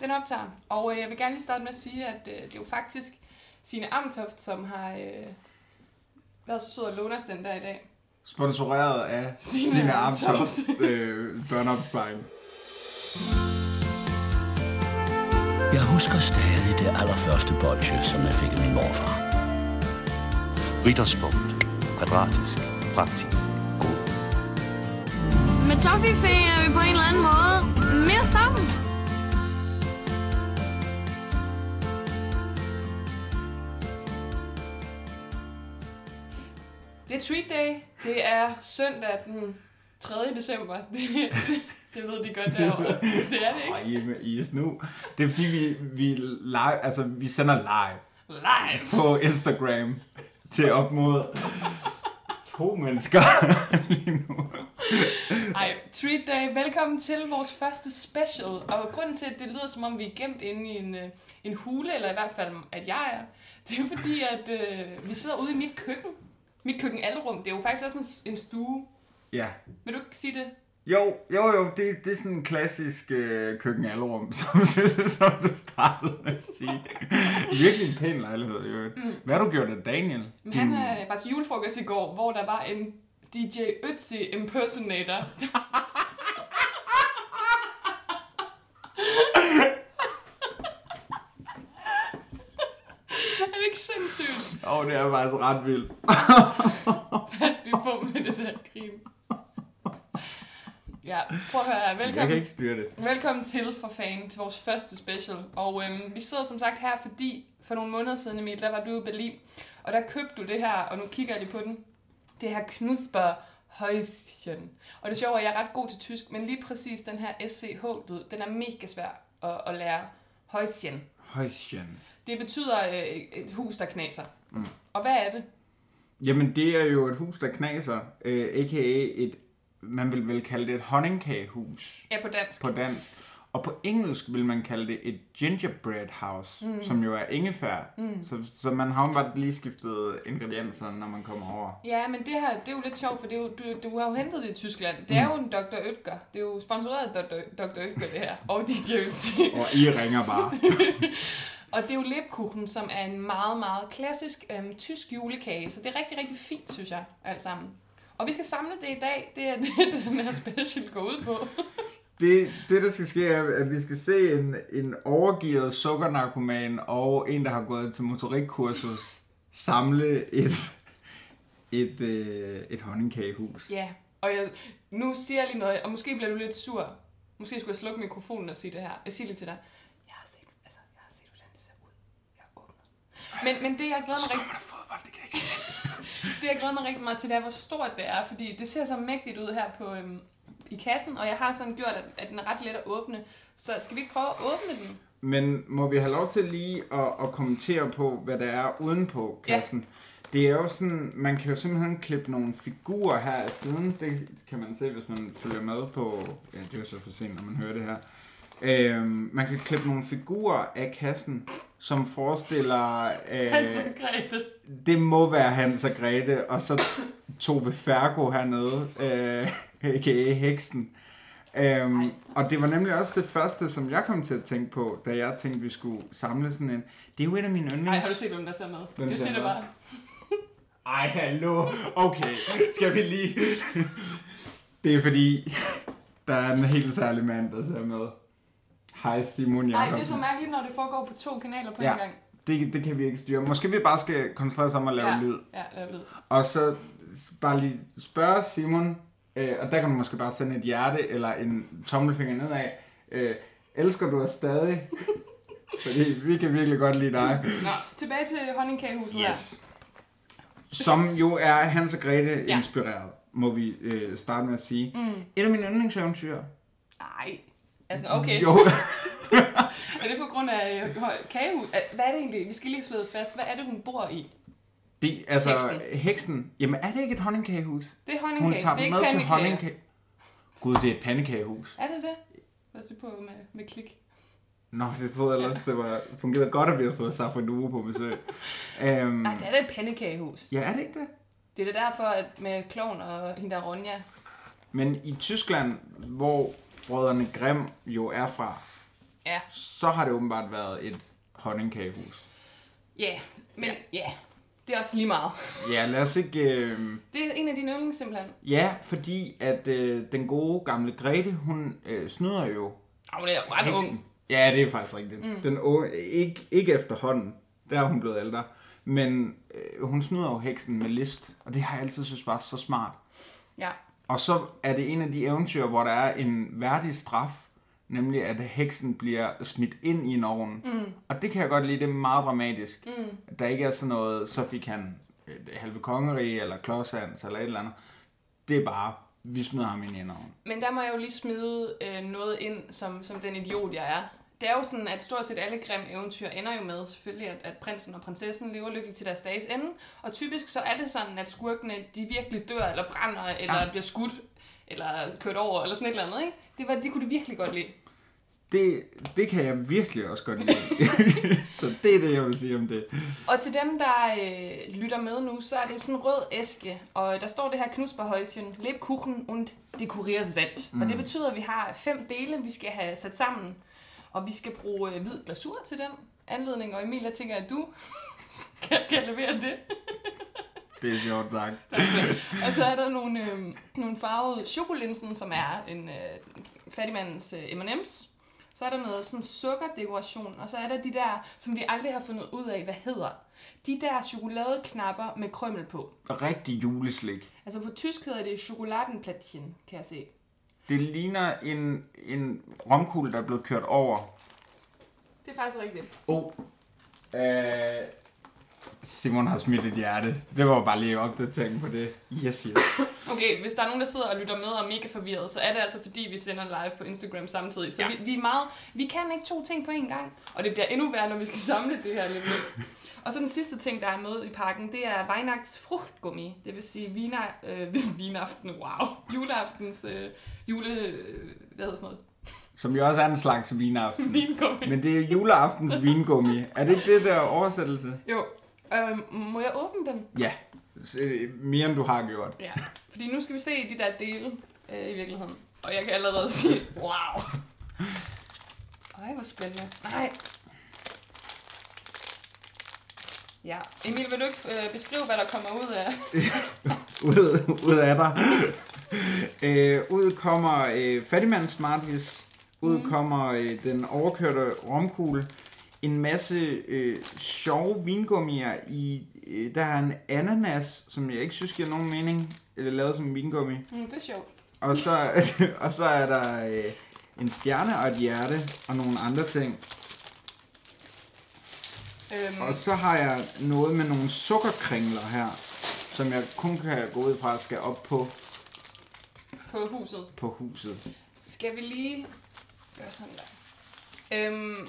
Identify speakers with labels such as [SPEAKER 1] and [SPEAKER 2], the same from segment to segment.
[SPEAKER 1] Den optager. Og øh, jeg vil gerne lige starte med at sige, at øh, det er jo faktisk Signe Amtoft, som har øh, været så sød at låne os den der i dag.
[SPEAKER 2] Sponsoreret af
[SPEAKER 1] Signe
[SPEAKER 2] Sina
[SPEAKER 1] Amtoft.
[SPEAKER 2] Amtofts øh, børneopsparing.
[SPEAKER 3] Jeg husker stadig det allerførste bolsje, som jeg fik af min morfar.
[SPEAKER 4] Ritterspunkt. Kvadratisk. Praktisk. God.
[SPEAKER 5] Med Toffifee er vi på en eller anden måde mere sammen.
[SPEAKER 1] Det er treat day. Det er søndag den 3. december. Det, det ved de godt derovre. Det er det ikke.
[SPEAKER 2] Ej, men I er nu. Det er fordi, vi, vi, live, altså, vi sender live
[SPEAKER 1] Live!
[SPEAKER 2] på Instagram til op mod to mennesker lige nu.
[SPEAKER 1] Ej, treat day. Velkommen til vores første special. Og grunden til, at det lyder som om, vi er gemt inde i en, øh, en hule, eller i hvert fald, at jeg er, det er fordi, at øh, vi sidder ude i mit køkken. Mit køkken alrum. Det er jo faktisk også en, s- en stue.
[SPEAKER 2] Ja.
[SPEAKER 1] Vil du ikke sige det?
[SPEAKER 2] Jo, jo, jo, det, det er sådan en klassisk øh, køkkenalrum, som, som du startede med at sige. Virkelig en pæn lejlighed, jo. Hvad har du gjort af Daniel?
[SPEAKER 1] Men Mm. han
[SPEAKER 2] Hmm.
[SPEAKER 1] øh, var til julefrokost i går, hvor der var en DJ Ötzi impersonator. er det ikke sindssygt?
[SPEAKER 2] Åh, oh, det er faktisk ret vildt.
[SPEAKER 1] Pas lige på med det der grin. Ja, prøv at høre.
[SPEAKER 2] Jeg kan
[SPEAKER 1] Velkommen,
[SPEAKER 2] ikke styre det.
[SPEAKER 1] velkommen til for fanden til vores første special. Og øhm, vi sidder som sagt her, fordi for nogle måneder siden, Emil, der var du i Berlin. Og der købte du det her, og nu kigger jeg lige på den. Det her Knusper Häuschen. Og det sjove er, at jeg er ret god til tysk, men lige præcis den her SCH-lyd, den er mega svær at, at lære. Häuschen.
[SPEAKER 2] Højsjen.
[SPEAKER 1] Det betyder øh, et hus, der knaser. Mm. Og hvad er det?
[SPEAKER 2] Jamen, det er jo et hus, der knaser, øh, a.k.a. et, man vil vel kalde det et honningkagehus
[SPEAKER 1] Ja, på dansk.
[SPEAKER 2] på dansk. Og på engelsk vil man kalde det et gingerbread house, mm. som jo er ingefær. Mm. Så, så man har jo bare lige skiftet ingredienserne, når man kommer over.
[SPEAKER 1] Ja, men det her, det er jo lidt sjovt, for det er jo, du, du har jo hentet det i Tyskland. Det er jo en Dr. Oetker. Det er jo sponsoreret af Dr. Dr. Oetker, det her. Og DJ Oetker.
[SPEAKER 2] Og I ringer bare.
[SPEAKER 1] Og det er jo Lebkuchen, som er en meget, meget klassisk øhm, tysk julekage. Så det er rigtig, rigtig fint, synes jeg, alt sammen. Og vi skal samle det i dag. Det er det, det den her special går ud på.
[SPEAKER 2] Det, det, der skal ske, er, at vi skal se en, en overgivet sukkernarkoman og en, der har gået til motorikkursus, samle et, et, øh, et honningkagehus.
[SPEAKER 1] Ja, og jeg, nu siger jeg lige noget, og måske bliver du lidt sur. Måske skulle jeg slukke mikrofonen og sige det her. Jeg siger lige til dig. Jeg har set, altså, jeg har set hvordan det ser ud. Jeg åbner. Men, men det, jeg glæder mig rigtig...
[SPEAKER 2] Kommer der fodbold? Det kan jeg ikke se.
[SPEAKER 1] Det, jeg glæder mig rigtig meget til, det er, hvor stort det er, fordi det ser så mægtigt ud her på, øhm, i kassen, og jeg har sådan gjort, at, at den er ret let at åbne. Så skal vi ikke prøve at åbne den?
[SPEAKER 2] Men må vi have lov til lige at, at kommentere på, hvad der er udenpå
[SPEAKER 1] Ja.
[SPEAKER 2] kassen? Det er jo sådan, man kan jo simpelthen klippe nogle figurer her af siden. Det kan man se, hvis man følger med på... Ja, det er jo så for sent, når man hører det her. Øhm, man kan klippe nogle figurer af kassen, som forestiller... Øh,
[SPEAKER 1] Grete.
[SPEAKER 2] det må være Hans og Grete, og så Tove Fergo hernede, øh, a.k.a. Heksen. Øhm, og det var nemlig også det første, som jeg kom til at tænke på, da jeg tænkte, vi skulle samle sådan en... Det er jo et af mine
[SPEAKER 1] Nej, har
[SPEAKER 2] yndlings...
[SPEAKER 1] du set, hvem der ser med?
[SPEAKER 2] Hvem
[SPEAKER 1] jeg
[SPEAKER 2] ser
[SPEAKER 1] siger det
[SPEAKER 2] med?
[SPEAKER 1] bare.
[SPEAKER 2] Ej, hallo. Okay, skal vi lige... det er fordi, der er en helt særlig mand, der ser med. Hej
[SPEAKER 1] Nej,
[SPEAKER 2] Simon
[SPEAKER 1] det er
[SPEAKER 2] Jacobsen.
[SPEAKER 1] så mærkeligt, når det foregår på to kanaler på
[SPEAKER 2] Ja.
[SPEAKER 1] en gang.
[SPEAKER 2] Det, det kan vi ikke styre. Måske vi bare skal koncentrere os om at lave
[SPEAKER 1] Ja,
[SPEAKER 2] lyd.
[SPEAKER 1] ja, lav lyd.
[SPEAKER 2] Og så bare lige spørge Simon, øh, og der kan du måske bare sende et hjerte eller en tommelfinger nedad. Øh, elsker du os stadig? Fordi vi kan virkelig godt lide dig.
[SPEAKER 1] Nå, tilbage til honningkagehuset her.
[SPEAKER 2] Som jo er Hans og Grete
[SPEAKER 1] Ja.
[SPEAKER 2] inspireret, må vi øh, starte med at sige. Mm. Et af mine yndlingseventyr.
[SPEAKER 1] Nej. Altså, okay.
[SPEAKER 2] Jo,
[SPEAKER 1] Er det på grund af øh, høj- kagehus? Er- Hvad er det egentlig? Vi skal lige slå det fast. Hvad er det, hun bor i?
[SPEAKER 2] det, altså
[SPEAKER 1] Heksen.
[SPEAKER 2] heksen. heksen. Jamen er det ikke et honningkagehus?
[SPEAKER 1] Det er
[SPEAKER 2] Hun
[SPEAKER 1] honningkage.
[SPEAKER 2] tager
[SPEAKER 1] Det er
[SPEAKER 2] dem
[SPEAKER 1] ikke
[SPEAKER 2] med til
[SPEAKER 1] pandekager.
[SPEAKER 2] honningkage. Gud, det er et pandekagehus.
[SPEAKER 1] Er det det? Hvad er det på med, med klik?
[SPEAKER 2] Nå, det troede jeg ellers, det var fungeret godt, at vi havde fået Safra Duo på besøg. Øhm,
[SPEAKER 1] Nej, det er da et pandekagehus.
[SPEAKER 2] Ja, er det ikke det?
[SPEAKER 1] Det er da derfor, at med klovn og hende der Ronja.
[SPEAKER 2] Men i Tyskland, hvor brødrene Grimm jo er fra,
[SPEAKER 1] Ja.
[SPEAKER 2] så har det åbenbart været et honningkagehus.
[SPEAKER 1] Ja, men ja, det er også lige meget.
[SPEAKER 2] Ja, lad os ikke... Øh...
[SPEAKER 1] Det er en af dine yndlings simpelthen.
[SPEAKER 2] Ja, fordi at øh, den gode gamle Grete, hun øh, snyder jo.
[SPEAKER 1] Ah, hun er jo ret ung.
[SPEAKER 2] Ja, det er faktisk rigtigt. Mm. Den unge, ikke, ikke efterhånden, der er hun blevet ældre. Men øh, hun snyder jo heksen med list, og det har jeg altid synes var så smart.
[SPEAKER 1] Ja.
[SPEAKER 2] Og så er det en af de eventyr, hvor der er en værdig straf, nemlig at heksen bliver smidt ind i en ovn. Mm. Og det kan jeg godt lide, det er meget dramatisk. Mm. At der ikke er sådan noget, så fik han øh, det halve kongerige, eller klodshands, eller et eller andet. Det er bare, vi smider ham ind i en ovn.
[SPEAKER 1] Men der må jeg jo lige smide øh, noget ind, som, som den idiot, jeg er. Det er jo sådan, at stort set alle grimme eventyr ender jo med selvfølgelig, at, at prinsen og prinsessen lever lykkeligt til deres dages ende. Og typisk så er det sådan, at skurkene, de virkelig dør, eller brænder, eller ja. bliver skudt, eller kørt over, eller sådan et eller andet, ikke? Det, var, det kunne de virkelig godt lide.
[SPEAKER 2] Det, det kan jeg virkelig også godt lide. så det er det, jeg vil sige om det.
[SPEAKER 1] Og til dem, der øh, lytter med nu, så er det sådan en rød æske, og der står det her Knusperhøjsjen, Lebkuchen und dekoriersat. Mm. Og det betyder, at vi har fem dele, vi skal have sat sammen, og vi skal bruge øh, hvid glasur til den anledning, og Emil, jeg tænker, at du kan, kan levere det.
[SPEAKER 2] Det er sjovt sagt.
[SPEAKER 1] og så er der nogle, øh, nogle farvede chokolinsen, som er en øh, fattigmandens øh, M&M's. Så er der noget sådan sukkerdekoration, og så er der de der, som vi aldrig har fundet ud af, hvad hedder. De der chokoladeknapper med krømmel på.
[SPEAKER 2] Rigtig juleslik.
[SPEAKER 1] Altså på tysk hedder det chokoladenplättchen, kan jeg se.
[SPEAKER 2] Det ligner en, en romkugle, der er blevet kørt over.
[SPEAKER 1] Det er faktisk rigtigt.
[SPEAKER 2] Oh. Øh, Simon har smidt et hjerte. Det var bare lige opdatering på det. Yes, yes.
[SPEAKER 1] Okay, hvis der er nogen, der sidder og lytter med og er mega forvirret, så er det altså fordi, vi sender live på Instagram samtidig. Så ja. vi, vi, er meget, vi kan ikke to ting på én gang, og det bliver endnu værre, når vi skal samle det her lidt. Og så den sidste ting, der er med i pakken, det er Weihnachts frugtgummi. Det vil sige viner, øh, vinaften, wow, juleaftens øh, jule... øh, Hvad hedder sådan noget?
[SPEAKER 2] Som jo også er en slags vinaften.
[SPEAKER 1] Vingummi.
[SPEAKER 2] Men det er juleaftens vingummi. Er det ikke det der oversættelse?
[SPEAKER 1] Jo. Øh, må jeg åbne den?
[SPEAKER 2] Ja. S- øh, Mere end du har gjort.
[SPEAKER 1] Ja, fordi nu skal vi se de der dele øh, i virkeligheden. Og jeg kan allerede sige, wow. Ej, hvor spændende. Nej. Ja, Emil, vil du ikke øh, beskrive, hvad der kommer ud af?
[SPEAKER 2] ud, ud af dig. øh, ud kommer øh, fattigmandens Martis, ud mm. kommer øh, den overkørte romkugle, en masse øh, sjove vingummier i, øh, der er en ananas, som jeg ikke synes giver nogen mening, eller lavet som vingummi,
[SPEAKER 1] Mm, det er sjovt.
[SPEAKER 2] og så, og så er der øh, en stjerne og et hjerte og nogle andre ting,
[SPEAKER 1] Øhm,
[SPEAKER 2] og så har jeg noget med nogle sukkerkringler her, som jeg kun kan gå ud fra skal op på,
[SPEAKER 1] på huset.
[SPEAKER 2] på huset.
[SPEAKER 1] Skal vi lige gøre sådan der? Øhm,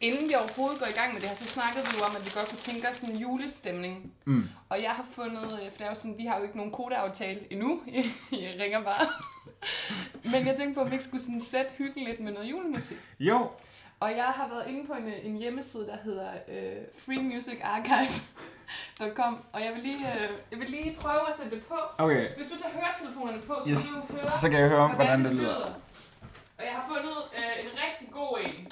[SPEAKER 1] inden vi overhovedet går i gang med det her, så snakkede vi jo om, at vi godt kunne tænke os en julestemning. Mm. Og jeg har fundet, øh, for det er jo sådan, vi har jo ikke nogen kodeaftale endnu, jeg ringer bare. Men jeg tænkte på, om vi ikke skulle sådan sætte hyggen lidt med noget julemusik.
[SPEAKER 2] Jo,
[SPEAKER 1] Og jeg har været inde på en, øh, en hjemmeside, der hedder øh, freemusicarchive.com, og jeg vil, lige, øh, jeg vil lige prøve at sætte det på.
[SPEAKER 2] okay.
[SPEAKER 1] Hvis du tager høretelefonerne på, så
[SPEAKER 2] Yes.
[SPEAKER 1] kan du høre,
[SPEAKER 2] Så kan jeg høre, hvordan det lyder.
[SPEAKER 1] Og jeg har fundet øh, en rigtig god en.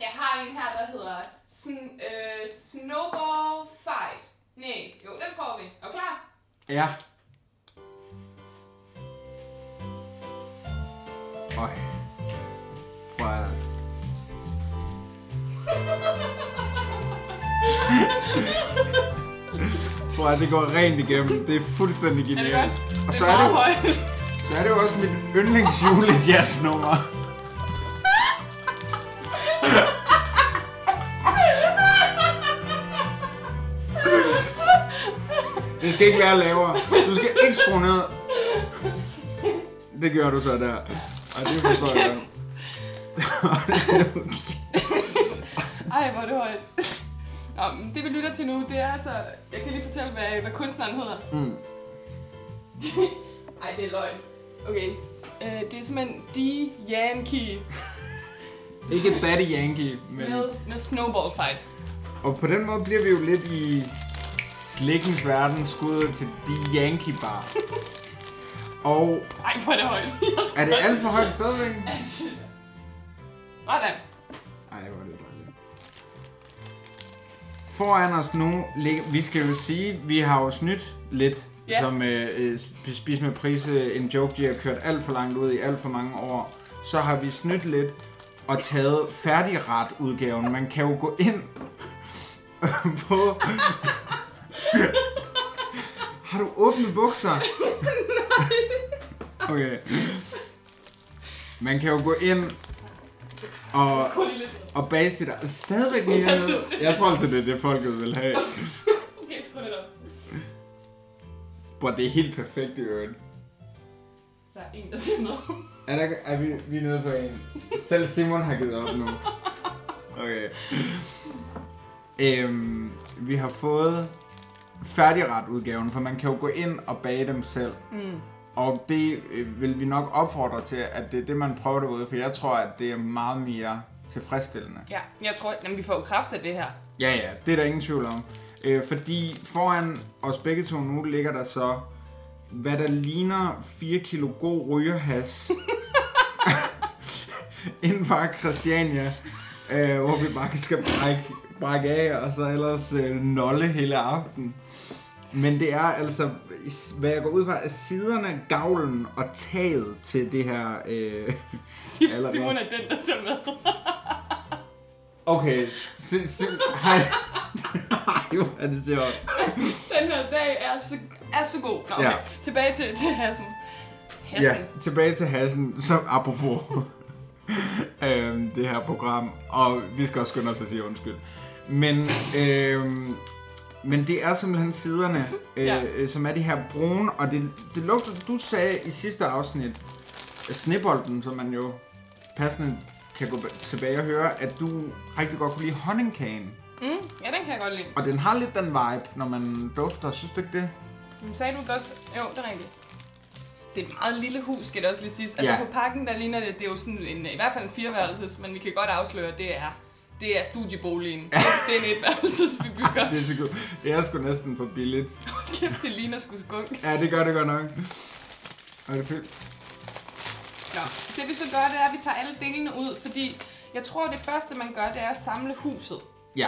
[SPEAKER 1] Jeg har en her, der hedder sn- øh, Snowball Fight. Nej, jo, den prøver vi. Er du klar?
[SPEAKER 2] Ja. Øj. Prøv at... Prøv at, det går rent igennem. Det er fuldstændig
[SPEAKER 1] Er det
[SPEAKER 2] genialt.
[SPEAKER 1] godt?
[SPEAKER 2] Og
[SPEAKER 1] Det
[SPEAKER 2] så
[SPEAKER 1] er
[SPEAKER 2] er det,
[SPEAKER 1] meget højt.
[SPEAKER 2] så er det jo også mit yndlings julejazznummer. Det skal ikke være lavere. Du skal ikke skrue ned. Det gør du så der. Og det forstår jeg godt.
[SPEAKER 1] Ej, hvor er det højt. Nå, men det vi lytter til nu, det er altså... Jeg kan lige fortælle, hvad, hvad kunstneren hedder.
[SPEAKER 2] Mm.
[SPEAKER 1] Ej, det er løgn. Okay. Øh, det er simpelthen De Yankee
[SPEAKER 2] Ikke Daddy Yankee, men...
[SPEAKER 1] med, med Snowball Fight.
[SPEAKER 2] Og på den måde bliver vi jo lidt i slikkens verden skudt til de Yankee Bar. Og
[SPEAKER 1] Ej, hvor er det højt. Jeg skal-
[SPEAKER 2] er det alt for højt stadigvæk?
[SPEAKER 1] Sådan.
[SPEAKER 2] foran os nu ligger... Vi skal jo sige, vi har jo snydt lidt,
[SPEAKER 1] Ja.
[SPEAKER 2] ja. som øh, øh, sp- Spis med Prise, en joke, de har kørt alt for langt ud i alt for mange år. Så har vi snydt lidt og taget færdigret-udgaven. Man kan jo gå ind på... har du åbne bukser? Nej. Okay. Man kan jo gå ind og...
[SPEAKER 1] Skru lige lidt. ned.
[SPEAKER 2] Og base der stadigvæk mere
[SPEAKER 1] Jeg synes, det-
[SPEAKER 2] ned. Jeg tror altså, det er det, folket vil have.
[SPEAKER 1] Okay, skru lidt op.
[SPEAKER 2] Bro, det er helt perfekt i øvrigt.
[SPEAKER 1] Der er en, der siger noget.
[SPEAKER 2] Er, der, er vi, vi er nede på en? Selv Simon har givet op nu. Okay. Øhm, vi har fået færdigret udgaven, for man kan jo gå ind og bage dem selv.
[SPEAKER 1] Mm.
[SPEAKER 2] Og det øh, vil vi nok opfordre til, at det er det, man prøver derude, for jeg tror, at det er meget mere tilfredsstillende.
[SPEAKER 1] Ja, jeg tror, jamen, vi får jo kraft af det her.
[SPEAKER 2] Ja, ja, det er der ingen tvivl om. Øh, fordi foran os begge to nu ligger der så, hvad der ligner 4 kilo god rygerhas inden fra Christiania, øh, hvor vi bare skal brække, brække af, og så ellers øh, nolle hele aften. Men det er altså, hvad jeg går ud fra, er siderne, gavlen og taget til det her... Øh,
[SPEAKER 1] Sim-
[SPEAKER 2] Allerede.
[SPEAKER 1] Simon er den, der ser med.
[SPEAKER 2] okay, sim, sim, hej. Ej, hvor er det sjovt.
[SPEAKER 1] Den her dag er så, er så god. Nå, okay.
[SPEAKER 2] Ja.
[SPEAKER 1] Tilbage til, til Hassen. Hassen.
[SPEAKER 2] Ja, tilbage til Hassen, som apropos øhm, det her program, og vi skal også skynde os at sige undskyld. Men, øhm, men det er simpelthen siderne, øh,
[SPEAKER 1] Ja.
[SPEAKER 2] ja. som er de her brune, og det, det lugter, du sagde i sidste afsnit, af snebolden, som man jo passende kan gå tilbage og høre, at du rigtig godt kunne lide honningkagen.
[SPEAKER 1] Mm, ja, den kan jeg godt lide.
[SPEAKER 2] Og den har lidt den vibe, når man dufter, synes du ikke det?
[SPEAKER 1] Men sagde du ikke også? Jo, det er rigtigt. Det er et meget lille hus, skal det også lige siges. Altså
[SPEAKER 2] Ja.
[SPEAKER 1] på pakken, der ligner det, det er jo sådan en, i hvert fald en fireværelses, men vi kan godt afsløre, at det er, det er studieboligen. det er en etværelses, vi bygger.
[SPEAKER 2] Det er, sgu, det er sgu næsten for billigt.
[SPEAKER 1] Kæft, det ligner sgu skunk.
[SPEAKER 2] Ja, det gør det godt nok. Og det er fedt.
[SPEAKER 1] Nå, det vi så gør, det er, at vi tager alle delene ud, fordi jeg tror, det første, man gør, det er at samle huset.
[SPEAKER 2] Ja,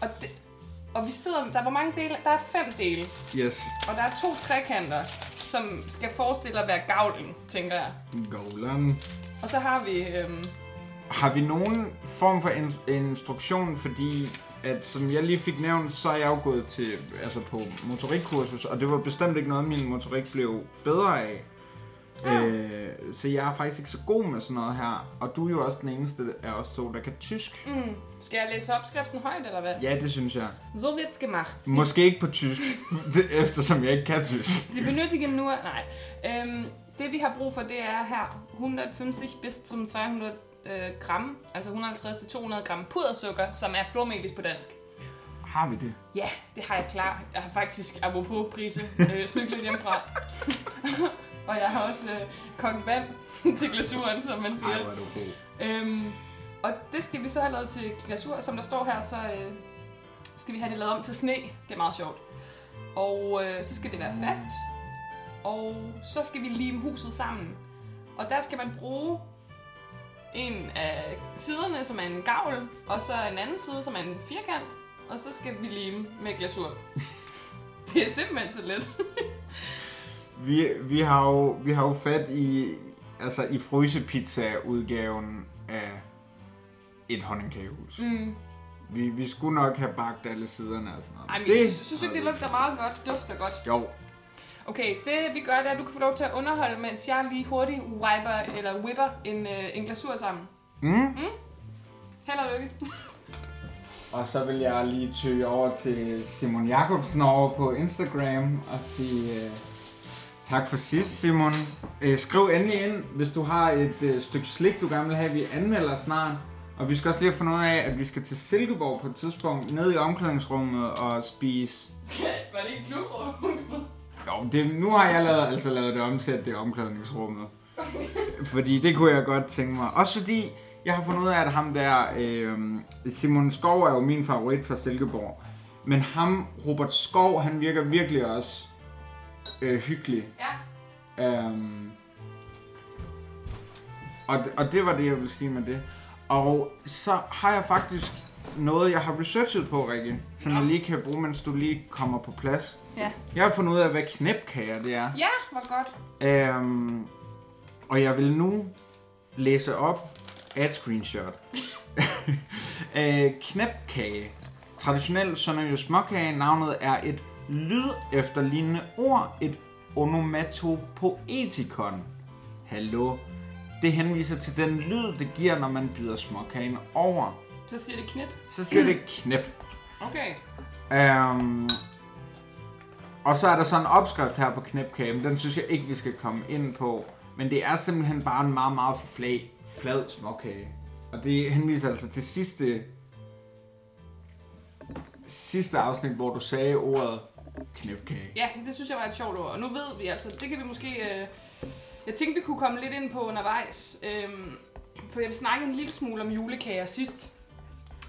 [SPEAKER 1] Og, det, og vi sidder, der er hvor mange dele? Der er fem dele,
[SPEAKER 2] yes.
[SPEAKER 1] og der er to trekanter, som skal forestille at være gavlen, tænker jeg.
[SPEAKER 2] Golan.
[SPEAKER 1] Og så har vi, øhm,
[SPEAKER 2] Har vi nogen form for in- instruktion, fordi at, som jeg lige fik nævnt, så er jeg jo gået til, altså på motorikkursus, og det var bestemt ikke noget, min motorik blev bedre af. Øh, så jeg er faktisk ikke så god med sådan noget her, og du er jo også den eneste af os to, der kan tysk.
[SPEAKER 1] mm, skal jeg læse opskriften højt, eller hvad? Mm.
[SPEAKER 2] Ja, det synes jeg.
[SPEAKER 1] So wird's gemacht. Sie,
[SPEAKER 2] Måske ikke på tysk, eftersom jeg ikke kan tysk.
[SPEAKER 1] Sie benötigen nur... Nej. Øhm, det vi har brug for, det er her 150 bis zum 200 øh, gram, altså 150-200 gram pudersukker, som er flormelis på dansk.
[SPEAKER 2] Har vi det?
[SPEAKER 1] Ja, det har jeg klar. Jeg har faktisk, apropos prise, øh, snydt lidt hjemmefra. og jeg har også øh, kogt vand til glasuren, som man siger.
[SPEAKER 2] Ej, hvor er du god.
[SPEAKER 1] Øhm, og det skal vi så have lavet til glasur, som der står her, så øh, skal vi have det lavet om til sne. Det er meget sjovt. Og øh, så skal det være fast, og så skal vi lime huset sammen. Og der skal man bruge en af siderne, som er en gavl, og så en anden side, som er en firkant, og så skal vi lime med glasur. Det er simpelthen så let.
[SPEAKER 2] Vi, vi, har jo, vi har jo fat i, altså i frysepizza-udgaven af et honningkagehus.
[SPEAKER 1] Mm.
[SPEAKER 2] Vi, vi skulle nok have bagt alle siderne og sådan noget.
[SPEAKER 1] Ej, men jeg synes, synes du ikke, det lugter meget godt, dufter godt?
[SPEAKER 2] Jo,
[SPEAKER 1] Okay, det vi gør, det er, at du kan få lov til at underholde, mens jeg lige hurtigt wiper eller whipper en, øh, en glasur sammen.
[SPEAKER 2] Mm.
[SPEAKER 1] Held og lykke.
[SPEAKER 2] og så vil jeg lige tøge over til Simon Jakobsen over på Instagram og sige øh, tak for sidst, Simon. Øh, skriv endelig ind, hvis du har et øh, stykke slik, du gerne vil have, vi anmelder snart. Og vi skal også lige have fundet ud af, at vi skal til Silkeborg på et tidspunkt, ned i omklædningsrummet og spise
[SPEAKER 1] Skal- Var det ikke klubhuset?
[SPEAKER 2] Jo, det, nu har jeg lavet, altså lavet det om til, at det er omklædningsrummet. Fordi det kunne jeg godt tænke mig. Også fordi, jeg har fundet ud af, at ham der, øh, Simon Skov er jo min favorit fra Silkeborg. Men ham, Robert Skov, han virker virkelig også øh, hyggelig.
[SPEAKER 1] Ja.
[SPEAKER 2] Øhm, og, og det var det, jeg ville sige med det. Og så har jeg faktisk noget, jeg har researchet på, Rikke, som
[SPEAKER 1] Nå.
[SPEAKER 2] jeg lige kan bruge, mens du lige kommer på plads.
[SPEAKER 1] Ja.
[SPEAKER 2] Jeg har fundet ud af, hvad knæpkager det er.
[SPEAKER 1] Ja, hvor godt.
[SPEAKER 2] Øhm, og jeg vil nu læse op af et screenshot. øh, knæpkage. Traditionelt sønderjysk småkage. Navnet er et lyd efterlignende ord, et onomatopoetikon. Hallo. Det henviser til den lyd, det giver, når man bider småkagen over.
[SPEAKER 1] Så siger det knip.
[SPEAKER 2] Så siger det knæp.
[SPEAKER 1] Okay.
[SPEAKER 2] Øhm, og så er der så en opskrift her på knæpkagen. Den synes jeg ikke, vi skal komme ind på. Men det er simpelthen bare en meget, meget flad, flad småkage. Og det henviser altså til sidste, sidste afsnit, hvor du sagde ordet knæpkage.
[SPEAKER 1] Ja, det synes jeg var et sjovt ord. Og nu ved vi altså, det kan vi måske... Øh, jeg tænkte, vi kunne komme lidt ind på undervejs. Øhm, for jeg snakkede en lille smule om julekager sidst.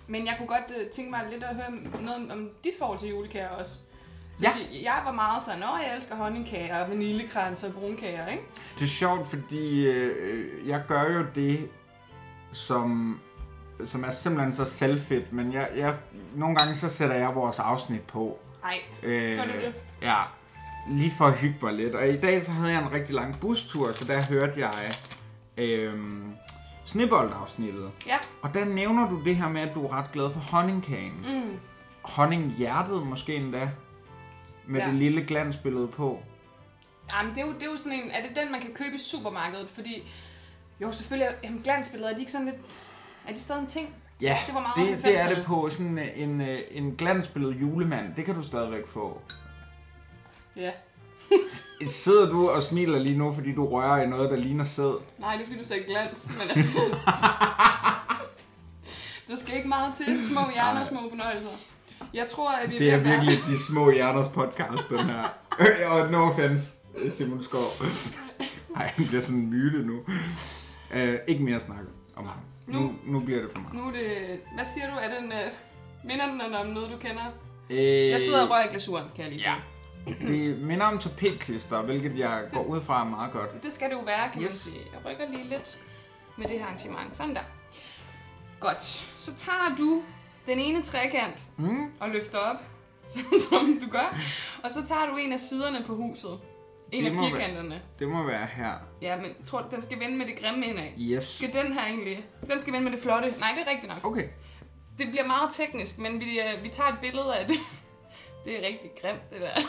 [SPEAKER 1] Men jeg kunne godt øh, tænke mig lidt at høre noget om, om dit forhold til julekager også.
[SPEAKER 2] Ja.
[SPEAKER 1] Fordi jeg var meget sådan, at jeg elsker honningkager og vaniljekranser og brunkager, ikke?
[SPEAKER 2] Det er sjovt, fordi øh, jeg gør jo det, som, som er simpelthen så selvfedt. Men jeg, jeg, nogle gange så sætter jeg vores afsnit på.
[SPEAKER 1] Ej,
[SPEAKER 2] Øh,
[SPEAKER 1] Gør du det?
[SPEAKER 2] Ja, lige for at hygge mig lidt. Og i dag så havde jeg en rigtig lang bustur, så der hørte jeg øh, snibboldafsnittet.
[SPEAKER 1] ja.
[SPEAKER 2] Og der nævner du det her med, at du er ret glad for honningkagen.
[SPEAKER 1] Mm.
[SPEAKER 2] Honninghjertet måske endda. Med
[SPEAKER 1] Ja.
[SPEAKER 2] det lille glansbillede på.
[SPEAKER 1] Jamen, det er, jo, det er jo sådan en... Er det den, man kan købe i supermarkedet? Fordi... Jo, selvfølgelig... er- Jamen, glansbilleder, er de ikke sådan lidt... Er de stadig en ting?
[SPEAKER 2] Ja,
[SPEAKER 1] Det var meget
[SPEAKER 2] det, det er
[SPEAKER 1] 90'erne.
[SPEAKER 2] det på sådan en, øh, en glansbillede julemand. Det kan du stadigvæk få.
[SPEAKER 1] Ja.
[SPEAKER 2] Sidder du og smiler lige nu, fordi du rører i noget, der ligner sæd?
[SPEAKER 1] Nej, det er fordi, du sagde glans, men altså... der skal ikke meget til. Små hjerner og små fornøjelser. Jeg tror, at vi
[SPEAKER 2] Det er
[SPEAKER 1] ved at være-
[SPEAKER 2] virkelig de små hjerners podcast, den her. Øh, Og no offense, Simon Skov. Ej, han bliver sådan en myte nu. Uh, ikke mere snak om ham. Nu, nu bliver det for meget.
[SPEAKER 1] Nu er det... Hvad siger du? Er den... Øh... Minder den om noget, du kender?
[SPEAKER 2] Øh,
[SPEAKER 1] Jeg sidder og rører i glasuren, kan jeg lige sige.
[SPEAKER 2] Ja. Det minder om tapetklister, hvilket jeg går ud fra er meget godt.
[SPEAKER 1] Det skal det jo være, kan yes. man
[SPEAKER 2] Yes.
[SPEAKER 1] sige. Jeg rykker lige lidt med det her arrangement. Sådan der. Godt. Så tager du den ene trekant
[SPEAKER 2] Mm.
[SPEAKER 1] og løfter op, som du gør. Og så tager du en af siderne på huset. En
[SPEAKER 2] Det
[SPEAKER 1] af
[SPEAKER 2] må være-
[SPEAKER 1] firkanterne. Være.
[SPEAKER 2] Det må være her.
[SPEAKER 1] Ja, men jeg tror, den skal vende med det grimme indad.
[SPEAKER 2] Yes.
[SPEAKER 1] Skal den her egentlig? Den skal vende med det flotte. Nej, det er rigtigt nok.
[SPEAKER 2] Okay.
[SPEAKER 1] Det bliver meget teknisk, men vi, øh, vi tager et billede af det. Det er rigtig grimt, det der.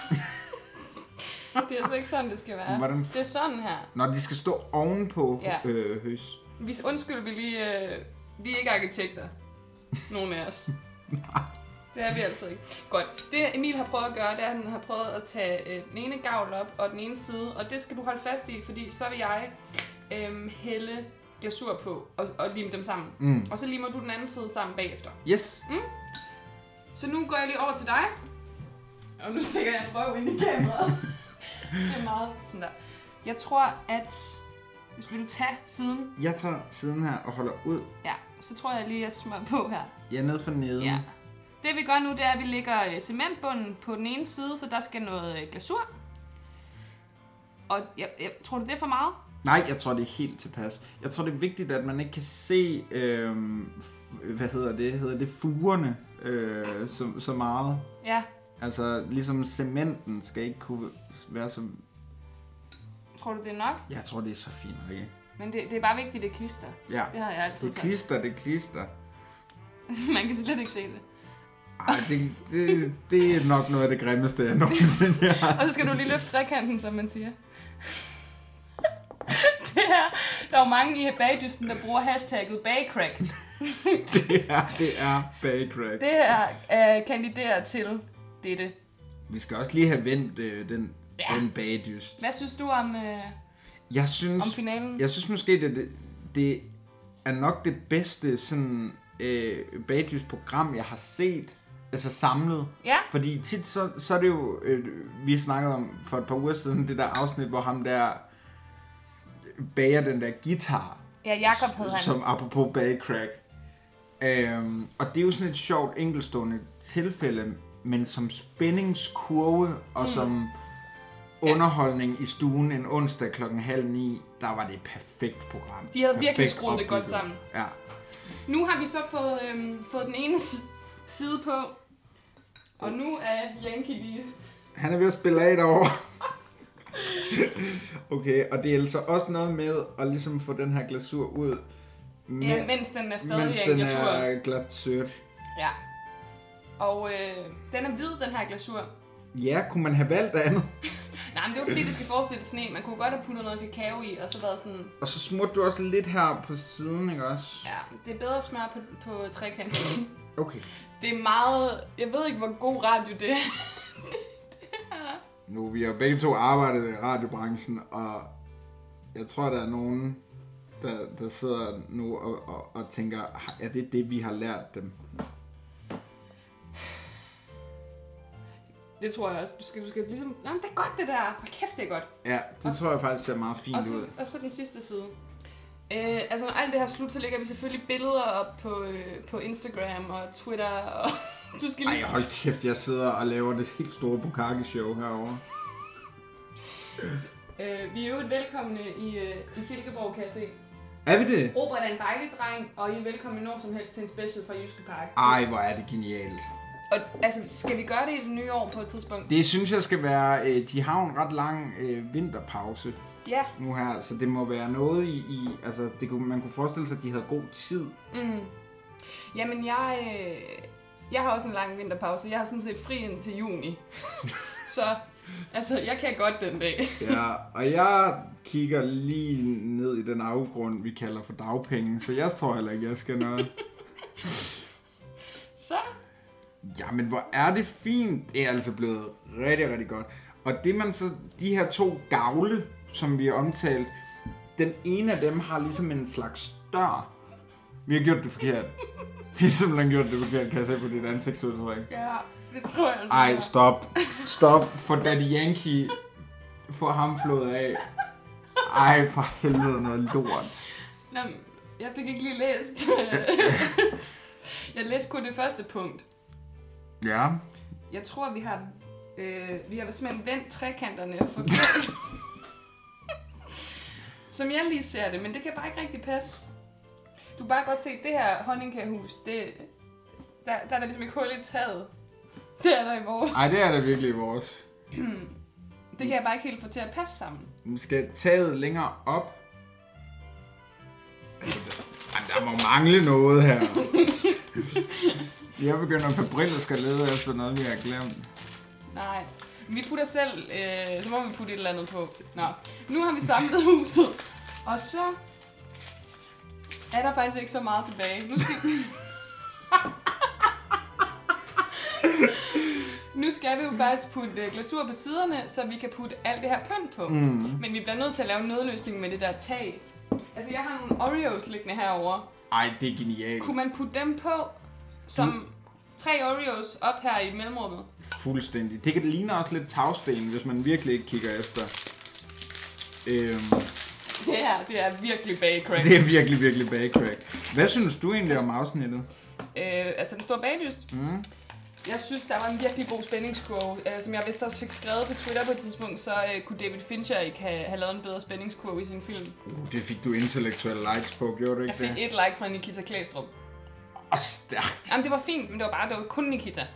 [SPEAKER 1] det er altså ikke sådan, det skal være.
[SPEAKER 2] Hvordan f-
[SPEAKER 1] Det er sådan her.
[SPEAKER 2] Når de skal stå ovenpå
[SPEAKER 1] Ja.
[SPEAKER 2] øh, høs.
[SPEAKER 1] Vi undskyld, vi lige... Øh, vi er ikke arkitekter. Nogen af os. det er vi altså ikke. Godt. Det Emil har prøvet at gøre, det er, at han har prøvet at tage øh, den ene gavl op og den ene side. Og det skal du holde fast i, fordi så vil jeg øh, hælde glasur på og, og lime dem sammen.
[SPEAKER 2] Mm.
[SPEAKER 1] Og så limer du den anden side sammen bagefter.
[SPEAKER 2] Yes.
[SPEAKER 1] Så nu går jeg lige over til dig. Og nu stikker jeg en røv ind i kameraet. det er meget sådan der. Jeg tror, at... Hvis vil du tage siden?
[SPEAKER 2] Jeg tager siden her og holder ud.
[SPEAKER 1] Ja, så tror jeg lige, at jeg smører på her.
[SPEAKER 2] Jeg er nede for neden.
[SPEAKER 1] Ja. Det vi gør nu, det er, at vi lægger øh, cementbunden på den ene side, så der skal noget øh, glasur. Og jeg, jeg, tror du, det er for meget?
[SPEAKER 2] Nej, jeg tror, det er helt tilpas. Jeg tror, det er vigtigt, at man ikke kan se, øh, hvad hedder det, hedder det fugerne øh, så, så meget.
[SPEAKER 1] Ja.
[SPEAKER 2] Altså, ligesom cementen skal ikke kunne være så...
[SPEAKER 1] Tror du, det er nok?
[SPEAKER 2] Jeg tror, det er så fint, ikke?
[SPEAKER 1] Men det, det er bare vigtigt, at det klister.
[SPEAKER 2] Ja,
[SPEAKER 1] Det har jeg altid
[SPEAKER 2] det
[SPEAKER 1] sagt.
[SPEAKER 2] klister, det klister.
[SPEAKER 1] Man kan slet ikke se det.
[SPEAKER 2] Ej, det, det, det er nok noget af det grimmeste, jeg nogensinde har.
[SPEAKER 1] Og så skal du lige løfte trekanten, som man siger. det her, der er jo mange i bagdysten, der bruger hashtagget bagcrack.
[SPEAKER 2] Det er, det er bagcrack.
[SPEAKER 1] Det her øh, kandiderer til dette.
[SPEAKER 2] Vi skal også lige have vendt øh, den,
[SPEAKER 1] Ja.
[SPEAKER 2] den bagdyst.
[SPEAKER 1] Hvad synes du om, øh,
[SPEAKER 2] Jeg synes...
[SPEAKER 1] om finalen?
[SPEAKER 2] Jeg synes måske, det, det, det er nok det bedste sådan, øh, bagdysprogram, jeg har set, altså samlet.
[SPEAKER 1] Ja.
[SPEAKER 2] Fordi tit, så, så er det jo, øh, vi snakkede om for et par uger siden, det der afsnit, hvor ham der bager den der guitar,
[SPEAKER 1] Ja, Jakob hed han.
[SPEAKER 2] som apropos bagcrack. Øhm, og det er jo sådan et sjovt enkelstående tilfælde, men som spændingskurve og mm. som underholdning i stuen en onsdag klokken halv ni, der var det et perfekt program.
[SPEAKER 1] De havde virkelig
[SPEAKER 2] Perfekt
[SPEAKER 1] skruet det godt
[SPEAKER 2] opbygget.
[SPEAKER 1] sammen.
[SPEAKER 2] Ja.
[SPEAKER 1] Nu har vi så fået, øhm, fået den ene s- side på. Og nu er Yankee lige...
[SPEAKER 2] Han er ved at spille af derovre. okay, og det er altså også noget med at ligesom få den her glasur ud. Men,
[SPEAKER 1] Ja, mens den er stadig
[SPEAKER 2] mens
[SPEAKER 1] er en
[SPEAKER 2] den
[SPEAKER 1] glasur.
[SPEAKER 2] er glat sødt.
[SPEAKER 1] Ja. Og øh, den er hvid, den her glasur.
[SPEAKER 2] Ja, kunne man have valgt andet?
[SPEAKER 1] Nej, men det var fordi, det skal forestille sne. Man kunne godt have puttet noget kakao i, og så været sådan...
[SPEAKER 2] Og så smurte du også lidt her på siden, ikke også?
[SPEAKER 1] Ja, det er bedre smør på, på trekanten.
[SPEAKER 2] Okay,
[SPEAKER 1] Det er meget... Jeg ved ikke, hvor god radio det er.
[SPEAKER 2] nu vi har begge to arbejdet i radiobranchen, og jeg tror, der er nogen, der, der sidder nu og, og, og tænker, er det det, vi har lært dem?
[SPEAKER 1] Det tror jeg også. Du skal, du skal ligesom... Nå, men det er godt, det der. Hvor kæft, det er godt.
[SPEAKER 2] Ja, det tror jeg faktisk ser meget fint
[SPEAKER 1] Og så,
[SPEAKER 2] ud.
[SPEAKER 1] og så den sidste side. Øh, altså, når alt det her er slut, så lægger vi selvfølgelig billeder op på, øh, på Instagram og Twitter. Og du skal
[SPEAKER 2] Ej,
[SPEAKER 1] lige...
[SPEAKER 2] hold kæft, jeg sidder og laver det helt store Bukake-show herovre.
[SPEAKER 1] Øh, vi er jo velkomne i, øh, i Silkeborg, kan jeg se.
[SPEAKER 2] Er vi det?
[SPEAKER 1] Robert er en dejlig dreng, og I er velkomne når som helst til en special fra Jyske Park.
[SPEAKER 2] Ej, hvor er det genialt.
[SPEAKER 1] Og, altså, skal vi gøre det i det nye år på et tidspunkt?
[SPEAKER 2] Det synes jeg skal være, øh, de har jo en ret lang øh, vinterpause
[SPEAKER 1] Ja.
[SPEAKER 2] nu her, så det må være noget i, i altså det kunne, man kunne forestille sig, at de havde god tid.
[SPEAKER 1] Mm. Jamen, jeg, øh, jeg har også en lang vinterpause. Jeg har sådan set fri indtil juni. så altså, jeg kan godt den dag.
[SPEAKER 2] Ja, og jeg kigger lige ned i den afgrund, vi kalder for dagpenge, så jeg tror heller ikke, jeg skal noget.
[SPEAKER 1] Så
[SPEAKER 2] Jamen, hvor er det fint. Det er altså blevet rigtig, rigtig godt. Og det man så, de her to gavle, som vi har omtalt, den ene af dem har ligesom en slags dør. Vi har gjort det forkert. Vi har simpelthen gjort det forkert, kan jeg se på dit ansigtsudtryk.
[SPEAKER 1] ja, det tror jeg altså.
[SPEAKER 2] Ej, stop. Stop, for Daddy Yankee får ham flået af. Ej, for helvede noget lort.
[SPEAKER 1] Nå, men jeg fik ikke lige læst. jeg læste kun det første punkt.
[SPEAKER 2] Ja.
[SPEAKER 1] Jeg tror, vi har, øh, vi har simpelthen vendt trekanterne for Som jeg lige ser det, men det kan bare ikke rigtig passe. Du kan bare godt se, at det her honningkagehus, det, der, der er der ligesom ikke hul i taget. Det er der i vores.
[SPEAKER 2] Ej, det er da virkelig vores.
[SPEAKER 1] Det kan jeg bare ikke helt få til at passe sammen.
[SPEAKER 2] Vi skal taget længere op. Altså, der- Ej, der må mangle noget her. Jeg begynder febrilt at skal lede efter noget, vi har glemt.
[SPEAKER 1] Nej. Vi putter selv, øh, så må vi putte et eller andet på. Nå, nu har vi samlet huset. Og så er der faktisk ikke så meget tilbage. Nu skal, nu skal vi jo faktisk putte øh, glasur på siderne, så vi kan putte alt det her pynt på. Mm. Men vi bliver nødt til at lave en nødløsning med det der tag. Altså, jeg har nogle Oreos liggende herovre.
[SPEAKER 2] Ej, det er genialt.
[SPEAKER 1] Kunne man putte dem på som tre Oreos op her i mellemrummet?
[SPEAKER 2] Fuldstændig. Det kan det ligner også lidt tagsten, hvis man virkelig ikke kigger efter. Øhm,
[SPEAKER 1] Det her, det er virkelig bagcrack.
[SPEAKER 2] det er virkelig, virkelig bagcrack. Hvad synes du egentlig om afsnittet?
[SPEAKER 1] Øh, altså den store baglyst. Mm. Jeg synes, der var en virkelig god spændingskurve, øh, som jeg vist også fik skrevet på Twitter på et tidspunkt, så øh, kunne David Fincher ikke have, have lavet en bedre spændingskurve i sin film.
[SPEAKER 2] Uh, det fik du intellektuelle likes på, gjorde du
[SPEAKER 1] Jeg
[SPEAKER 2] ikke
[SPEAKER 1] fik
[SPEAKER 2] det?
[SPEAKER 1] et like fra Nikita Klæstrup.
[SPEAKER 2] Åh, stærkt.
[SPEAKER 1] Jamen, det var fint, men det var bare det var kun Nikita.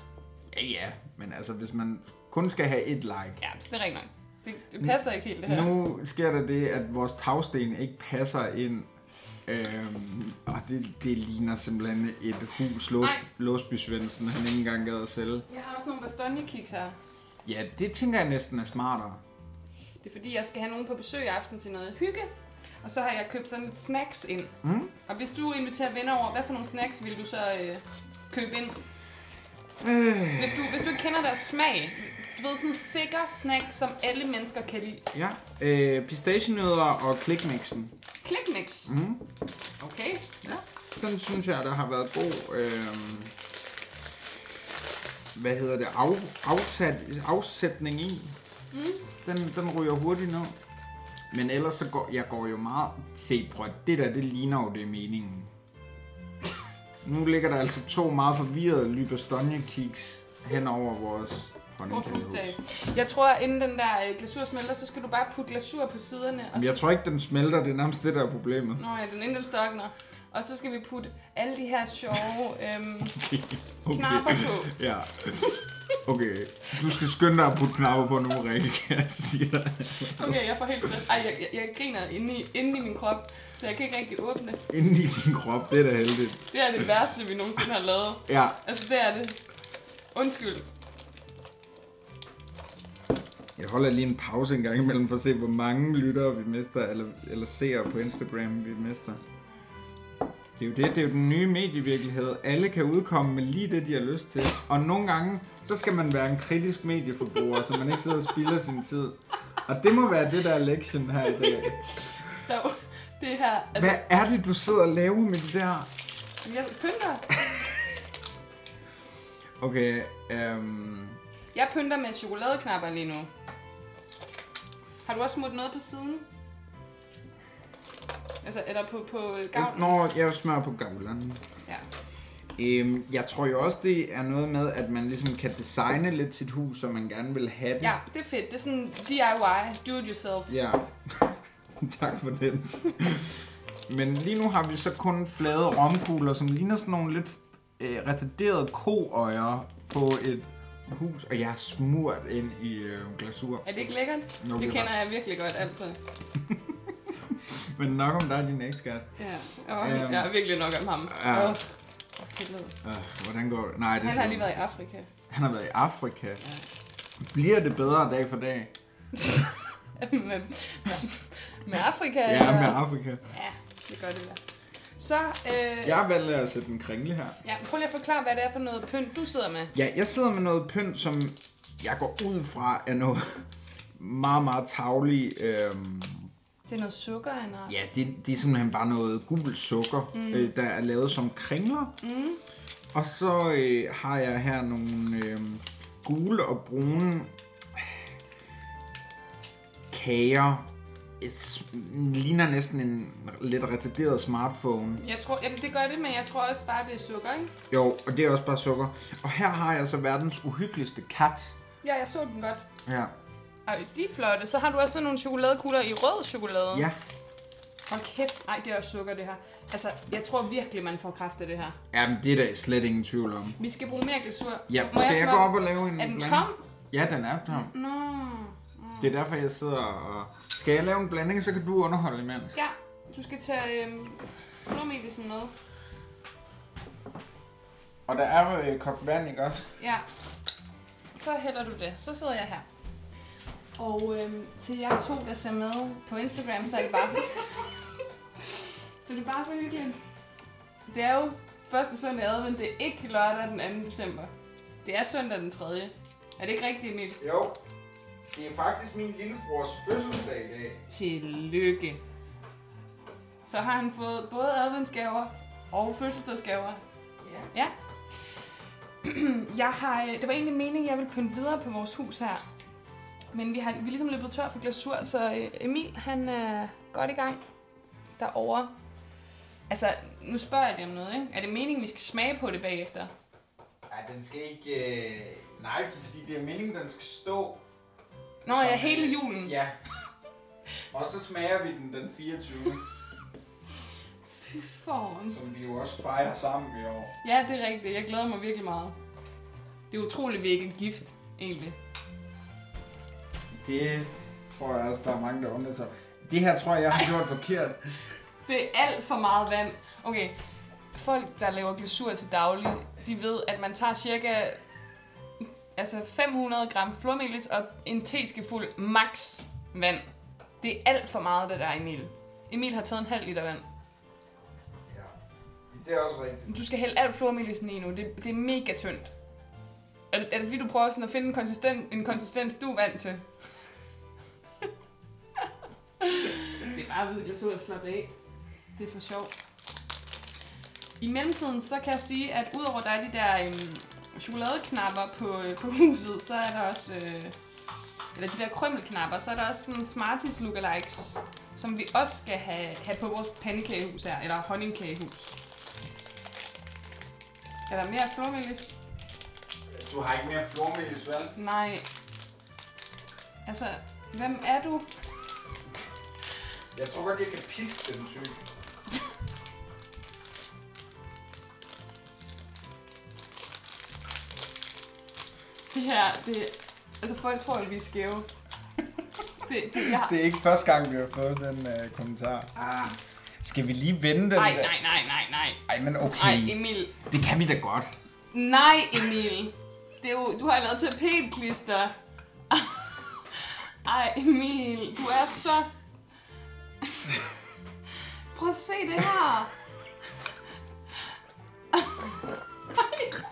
[SPEAKER 2] Ja, ja. Men altså, hvis man kun skal have et like,
[SPEAKER 1] Ja, så det er rent nok. Det, det passer ikke helt, det her.
[SPEAKER 2] Nu sker der det, at vores tagsten ikke passer ind. Øhm, og det, det ligner simpelthen et hus, Lås,
[SPEAKER 1] Nej.
[SPEAKER 2] Låsby Svendsen, han ikke engang gad at sælge.
[SPEAKER 1] Jeg har også nogle Bastogne-kiks her.
[SPEAKER 2] Ja, det tænker jeg næsten er smartere.
[SPEAKER 1] Det er fordi, jeg skal have nogen på besøg i aften til noget hygge. Og så har jeg købt sådan lidt snacks ind. Mm. Og hvis du inviterer venner over, hvad for nogle snacks vil du så øh, købe ind? Øh. Hvis, du, hvis du ikke kender deres smag, du ved sådan en sikker snack, som alle mennesker kan lide.
[SPEAKER 2] Ja, øh, pistagenødder og klikmixen.
[SPEAKER 1] Klikmix. Mm. Okay.
[SPEAKER 2] Ja, den synes jeg, der har været god... Øhm, hvad hedder det? Af, afsat, afsætning i. Mm. Den, den ryger hurtigt ned. Men ellers så går jeg går jo meget... Se, prøv, at- det der, det ligner jo, det er meningen. nu ligger der altså to meget forvirrede Lybastonje kiks hen over vores
[SPEAKER 1] Vores
[SPEAKER 2] honningkagehus.
[SPEAKER 1] hustag. Jeg tror, at inden den der øh, glasur smelter, så skal du bare putte glasur på siderne. Og
[SPEAKER 2] Men
[SPEAKER 1] så...
[SPEAKER 2] jeg tror ikke, den smelter. Det er nærmest det, der er problemet.
[SPEAKER 1] Nå ja, den inden den størkner. Og så skal vi putte alle de her sjove øhm, knapper på.
[SPEAKER 2] Ja. Okay. Du skal skynde dig at putte knapper på nu, Rikke, kan jeg sige dig.
[SPEAKER 1] Okay, jeg får helt stress. Ej, jeg, jeg, jeg griner inde i, inde i min krop, så jeg kan ikke rigtig åbne.
[SPEAKER 2] Inden i din krop, det er da heldigt.
[SPEAKER 1] Det er det værste, vi nogensinde har lavet.
[SPEAKER 2] Ja.
[SPEAKER 1] Altså, det er det. Undskyld.
[SPEAKER 2] Jeg holder lige en pause en gang imellem for at se, hvor mange lyttere vi mister, eller, eller seere på Instagram vi mister. Det er jo det, det er jo den nye medievirkelighed. Alle kan udkomme med lige det, de har lyst til. Og nogle gange, så skal man være en kritisk medieforbruger, så man ikke sidder og spilder sin tid. Og det må være det, der er lektion her i dag.
[SPEAKER 1] Der, er jo- det her... Altså,
[SPEAKER 2] Hvad er det, du sidder og laver med det der?
[SPEAKER 1] jeg pynter.
[SPEAKER 2] Okay, øhm,
[SPEAKER 1] Jeg pynter med chokoladeknapper lige nu. Har du også smurt noget på siden? Altså, eller på, på øh, gavn?
[SPEAKER 2] når jeg smører på gavlen.
[SPEAKER 1] Ja.
[SPEAKER 2] Øhm, jeg tror jo også, det er noget med, at man ligesom kan designe lidt sit hus, som man gerne vil have det.
[SPEAKER 1] ja, det er fedt. Det er sådan DIY, do it yourself.
[SPEAKER 2] ja. tak for den. Men lige nu har vi så kun flade romkugler, som ligner sådan nogle lidt øh, retarderede koøjer på et hus, og jeg er smurt ind i øh, glasur.
[SPEAKER 1] Er det ikke lækkert?
[SPEAKER 2] Nå, det
[SPEAKER 1] det
[SPEAKER 2] er
[SPEAKER 1] kender jeg virkelig godt altid.
[SPEAKER 2] Men nok om dig, din ekskæreste.
[SPEAKER 1] Ja, og
[SPEAKER 2] Øhm.
[SPEAKER 1] jeg er virkelig nok om ham.
[SPEAKER 2] Ja.
[SPEAKER 1] Åh, det er lækkert.
[SPEAKER 2] Øh, hvordan går det? Nej, det
[SPEAKER 1] Han
[SPEAKER 2] skal-
[SPEAKER 1] har lige været i Afrika.
[SPEAKER 2] Han har været i Afrika. Bliver det bedre dag for dag?
[SPEAKER 1] med, med Afrika?
[SPEAKER 2] Ja,
[SPEAKER 1] eller-
[SPEAKER 2] med Afrika.
[SPEAKER 1] Ja, det gør det da. Så, øh,
[SPEAKER 2] Jeg valgte at sætte en kringle her.
[SPEAKER 1] ja, prøv lige at forklare, hvad det er for noget pynt, du sidder med.
[SPEAKER 2] Ja, jeg sidder med noget pynt, som jeg går ud fra er noget meget, meget tavlig. Øhm,
[SPEAKER 1] Det er noget sukker, han har.
[SPEAKER 2] ja, det, det er simpelthen bare noget gul sukker, mm. øh, der er lavet som kringler. Mm. Og så øh, har jeg her nogle øh, gule og brune øh, kager. Et s- mm, ligner næsten en lidt retarderet smartphone.
[SPEAKER 1] Jeg tror, jamen det gør det, men jeg tror også bare, det er sukker, ikke?
[SPEAKER 2] Jo, og det er også bare sukker. Og her har jeg så verdens uhyggeligste kat.
[SPEAKER 1] Ja, jeg så den godt.
[SPEAKER 2] Ja.
[SPEAKER 1] Ej, de er flotte. Så har du også sådan nogle chokoladekugler i rød chokolade.
[SPEAKER 2] Ja.
[SPEAKER 1] Hold kæft. Ej, det er også sukker, det her. Altså, jeg tror virkelig, man får kraft af det her.
[SPEAKER 2] Jamen, det er der slet ingen tvivl om.
[SPEAKER 1] Vi skal bruge mere glasur.
[SPEAKER 2] Ja,
[SPEAKER 1] Må
[SPEAKER 2] skal jeg,
[SPEAKER 1] smøre
[SPEAKER 2] gå
[SPEAKER 1] den?
[SPEAKER 2] op og lave en
[SPEAKER 1] Er den
[SPEAKER 2] blanding?
[SPEAKER 1] tom?
[SPEAKER 2] Ja, den er tom.
[SPEAKER 1] Nå.
[SPEAKER 2] Det er derfor, jeg sidder og... Skal jeg lave en blanding, så kan du underholde imens.
[SPEAKER 1] Ja, du skal tage øhm, flormelisen med.
[SPEAKER 2] Og der er jo øh, kogt vand, ikke også?
[SPEAKER 1] Ja. Så hælder du det. Så sidder jeg her. Og øhm, til jer to, der ser med på Instagram, så er det bare så... så er det bare så hyggeligt. Det er jo første søndag i advent. Det er ikke lørdag den 2. december. Det er søndag den 3. Er det ikke rigtigt, Emil?
[SPEAKER 2] Jo. Det er faktisk min lillebrors fødselsdag i dag.
[SPEAKER 1] Tillykke. Så har han fået både adventsgaver og fødselsdagsgaver. Ja. ja. Jeg har, øh, det var egentlig meningen, jeg ville pynte videre på vores hus her. Men vi har vi er ligesom løbet tør for glasur, så øh, Emil han er godt i gang derovre. Altså, nu spørger jeg dig om noget, ikke? Er det meningen, vi skal smage på det bagefter?
[SPEAKER 2] Ja, den skal ikke... Øh... Nej, det er fordi det er meningen, den skal stå.
[SPEAKER 1] Nå,
[SPEAKER 2] Som,
[SPEAKER 1] ja,
[SPEAKER 2] øh,
[SPEAKER 1] hele julen.
[SPEAKER 2] Ja. og så smager vi den den 24.
[SPEAKER 1] Fy forn.
[SPEAKER 2] som vi jo også fejrer sammen i år.
[SPEAKER 1] Ja, det er rigtigt. Jeg glæder mig virkelig meget. Det er utroligt, vi ikke er gift, egentlig.
[SPEAKER 2] Det tror jeg også, der er mange, der undrer sig. Det her tror jeg, jeg har gjort forkert.
[SPEAKER 1] Det er alt for meget vand. Okay, folk, der laver glasur til daglig, de ved, at man tager cirka altså 500 gram flormelis og en teskefuld max vand. Det er alt for meget, det der, Emil. Emil har taget en halv liter vand.
[SPEAKER 2] Ja. Det er også rigtigt.
[SPEAKER 1] Du skal hælde alt flormelisen i nu. Det, det er mega tyndt. Er det, er det fordi, du prøver sådan at finde en, konsistent, en konsistens, du er vant til? det er bare hvid glasur at slappe af. Det er for sjovt. I mellemtiden, så kan jeg sige, at udover der er de der øhm, chokoladeknapper på, øh, på huset, så er der også... Øh, eller de der krømmelknapper, så er der også sådan Smarties lookalikes, som vi også skal have, have på vores pandekagehus her, eller honningkagehus. Er der mere flormelis?
[SPEAKER 2] Du har ikke mere flormelis, vel?
[SPEAKER 1] Nej. Altså, hvem er du?
[SPEAKER 2] Jeg tror godt, jeg kan piske den syg.
[SPEAKER 1] Det her, det... Altså, folk tror jo, vi er skæve. Det, det, jeg har...
[SPEAKER 6] Det er ikke første gang, vi har fået den øh, kommentar.
[SPEAKER 2] Ah,
[SPEAKER 6] Skal vi lige vende den?
[SPEAKER 1] Nej,
[SPEAKER 6] der?
[SPEAKER 1] nej, nej, nej, nej.
[SPEAKER 2] Hmm.
[SPEAKER 6] Ej, men
[SPEAKER 1] Nej,
[SPEAKER 6] okay.
[SPEAKER 1] Emil.
[SPEAKER 2] det kan vi da godt.
[SPEAKER 1] Nej, Emil. Det er jo, du har lavet tapetklister. Ej, Emil. Du er så... Prøv at se det her. Ej,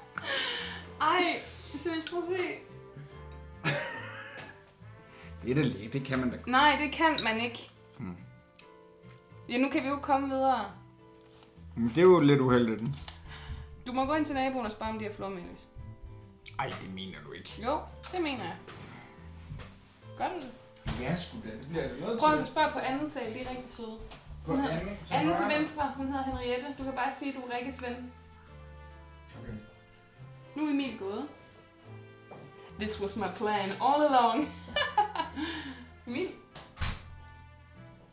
[SPEAKER 1] Ej. seriøst, prøv at se.
[SPEAKER 2] Det er da lidt, det kan man da godt.
[SPEAKER 1] Nej, det kan man ikke. Ja, nu kan vi jo ikke komme videre.
[SPEAKER 2] Men det er jo lidt uheldigt.
[SPEAKER 1] Du må gå ind til naboen og spørge, om de har flormelis.
[SPEAKER 2] Ej, det mener du ikke.
[SPEAKER 1] Jo, det mener jeg. Gør du det?
[SPEAKER 2] Ja, sgu da. Det bliver jeg nødt
[SPEAKER 1] Prøv at spørge på anden sal, de er rigtig søde.
[SPEAKER 2] På
[SPEAKER 1] Hun hedder-
[SPEAKER 2] anden, så
[SPEAKER 1] Anden til
[SPEAKER 2] højre.
[SPEAKER 1] venstre, hun hedder Henriette. Du kan bare sige, at du er Rikkes ven.
[SPEAKER 2] Okay.
[SPEAKER 1] Nu er Emil gået. This was my plan all along. Emil.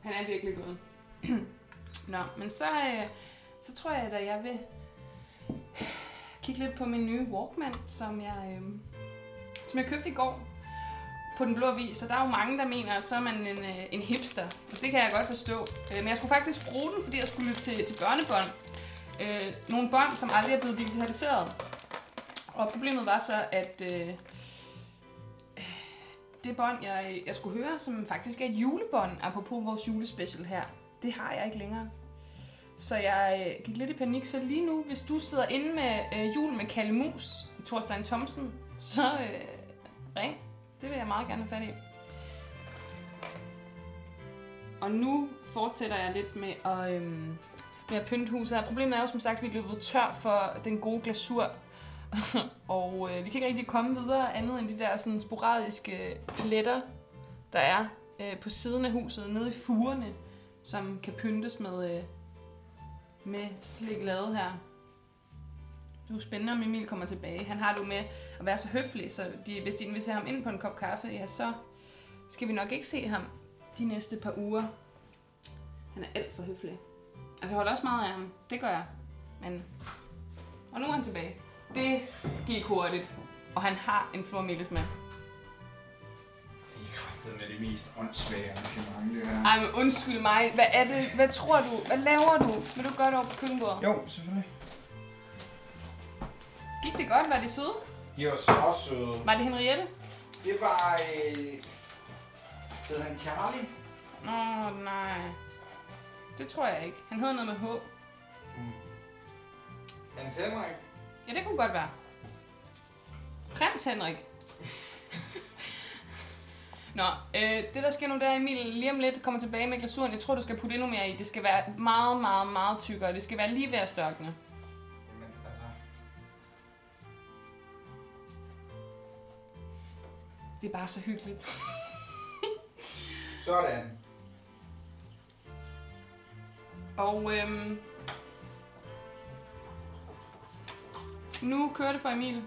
[SPEAKER 1] Han er virkelig gået. Nå, men så, øh, så tror jeg, at jeg vil kigge lidt på min nye Walkman, som jeg, øh, som jeg købte i går på Den Blå Avis. Og der er jo mange, der mener, at så er man en, øh, en hipster. Og det kan jeg godt forstå. Øh, men jeg skulle faktisk bruge den, fordi jeg skulle lytte til, til børnebånd. Øh, nogle bånd, som aldrig er blevet digitaliseret. Og problemet var så, at øh, det bånd, jeg, jeg skulle høre, som faktisk er et julebånd, apropos vores julespecial her, det har jeg ikke længere. Så jeg øh, gik lidt i panik, så lige nu, hvis du sidder inde med øh, jul med Kalle Mus, Thorstein Thomsen, så øh, ring. Det vil jeg meget gerne have fat i. Og nu fortsætter jeg lidt med at, øhm, med at pynte huset her. Problemet er jo som sagt, at vi er løbet tør for den gode glasur. og øh, vi kan ikke rigtig komme videre andet end de der sådan, sporadiske pletter, der er øh, på siden af huset, nede i furerne, som kan pyntes med, øh, med sliklade her. Det er jo spændende, om Emil kommer tilbage. Han har det jo med at være så høflig, så de, hvis de inviterer ham ind på en kop kaffe, ja, så skal vi nok ikke se ham de næste par uger. Han er alt for høflig. Altså, jeg holder også meget af ham. Det gør jeg. Men... Og nu er han tilbage. Det gik hurtigt. Og han har en flormelis med.
[SPEAKER 2] Det er kraftet med det mest åndssvage arrangement, det her.
[SPEAKER 1] Ej, men undskyld mig. Hvad er det? Hvad tror du? Hvad laver du? Vil du gøre det over på køkkenbordet?
[SPEAKER 2] Jo, selvfølgelig.
[SPEAKER 1] Gik det godt? Var det søde?
[SPEAKER 2] De var så søde.
[SPEAKER 1] Var det Henriette?
[SPEAKER 2] Det var... Øh... Hed han Charlie?
[SPEAKER 1] Nå, nej. Det tror jeg ikke. Han hedder noget med H.
[SPEAKER 2] Hans Henrik?
[SPEAKER 1] Ja, det kunne godt være. Prins Henrik. Nå, øh, det der sker nu, der Emil lige om lidt kommer tilbage med glasuren. Jeg tror, du skal putte endnu mere i. Det skal være meget, meget, meget tykkere. Det skal være lige ved at størkne.
[SPEAKER 2] Jamen, altså...
[SPEAKER 1] Det er bare så hyggeligt.
[SPEAKER 2] Sådan.
[SPEAKER 1] Og øhm, nu kører det for Emil.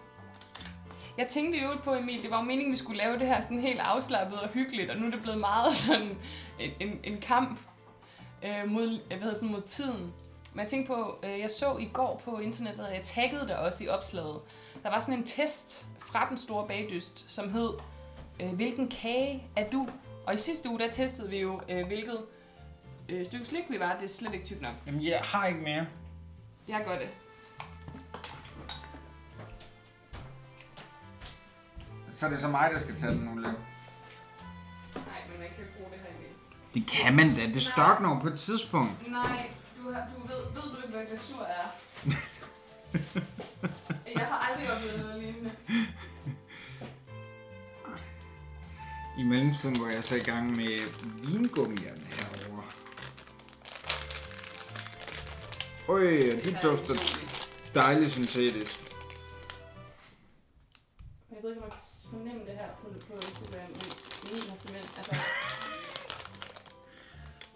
[SPEAKER 1] Jeg tænkte jo på Emil, det var jo meningen, vi skulle lave det her sådan helt afslappet og hyggeligt, og nu er det blevet meget sådan en, en, en kamp øh, mod, øh, hvad hedder, sådan, mod tiden. Men jeg tænkte på, øh, jeg så i går på internettet, og jeg taggede dig også i opslaget, der var sådan en test fra den store bagdyst, som hed, øh, hvilken kage er du? Og i sidste uge, der testede vi jo, øh, hvilket øh, stykke slik vi var, det er slet ikke tykt nok.
[SPEAKER 6] Jamen, jeg har ikke mere.
[SPEAKER 1] Jeg gør det.
[SPEAKER 2] Så er det så mig, der skal tage den nu lidt.
[SPEAKER 1] Nej, men man kan ikke bruge det her igen.
[SPEAKER 2] Det kan man da. Det størkner jo på et tidspunkt.
[SPEAKER 1] Nej, du, har, du ved, ved du ikke, hvad glasur er? jeg har aldrig oplevet noget lignende.
[SPEAKER 2] I mellemtiden var jeg så i gang med vingummierne herovre. Øj, de dufter dejligt syntetisk.
[SPEAKER 1] Jeg ved ikke, om man kan fornemme det her på, på Instagram, men min har simpelthen... Altså,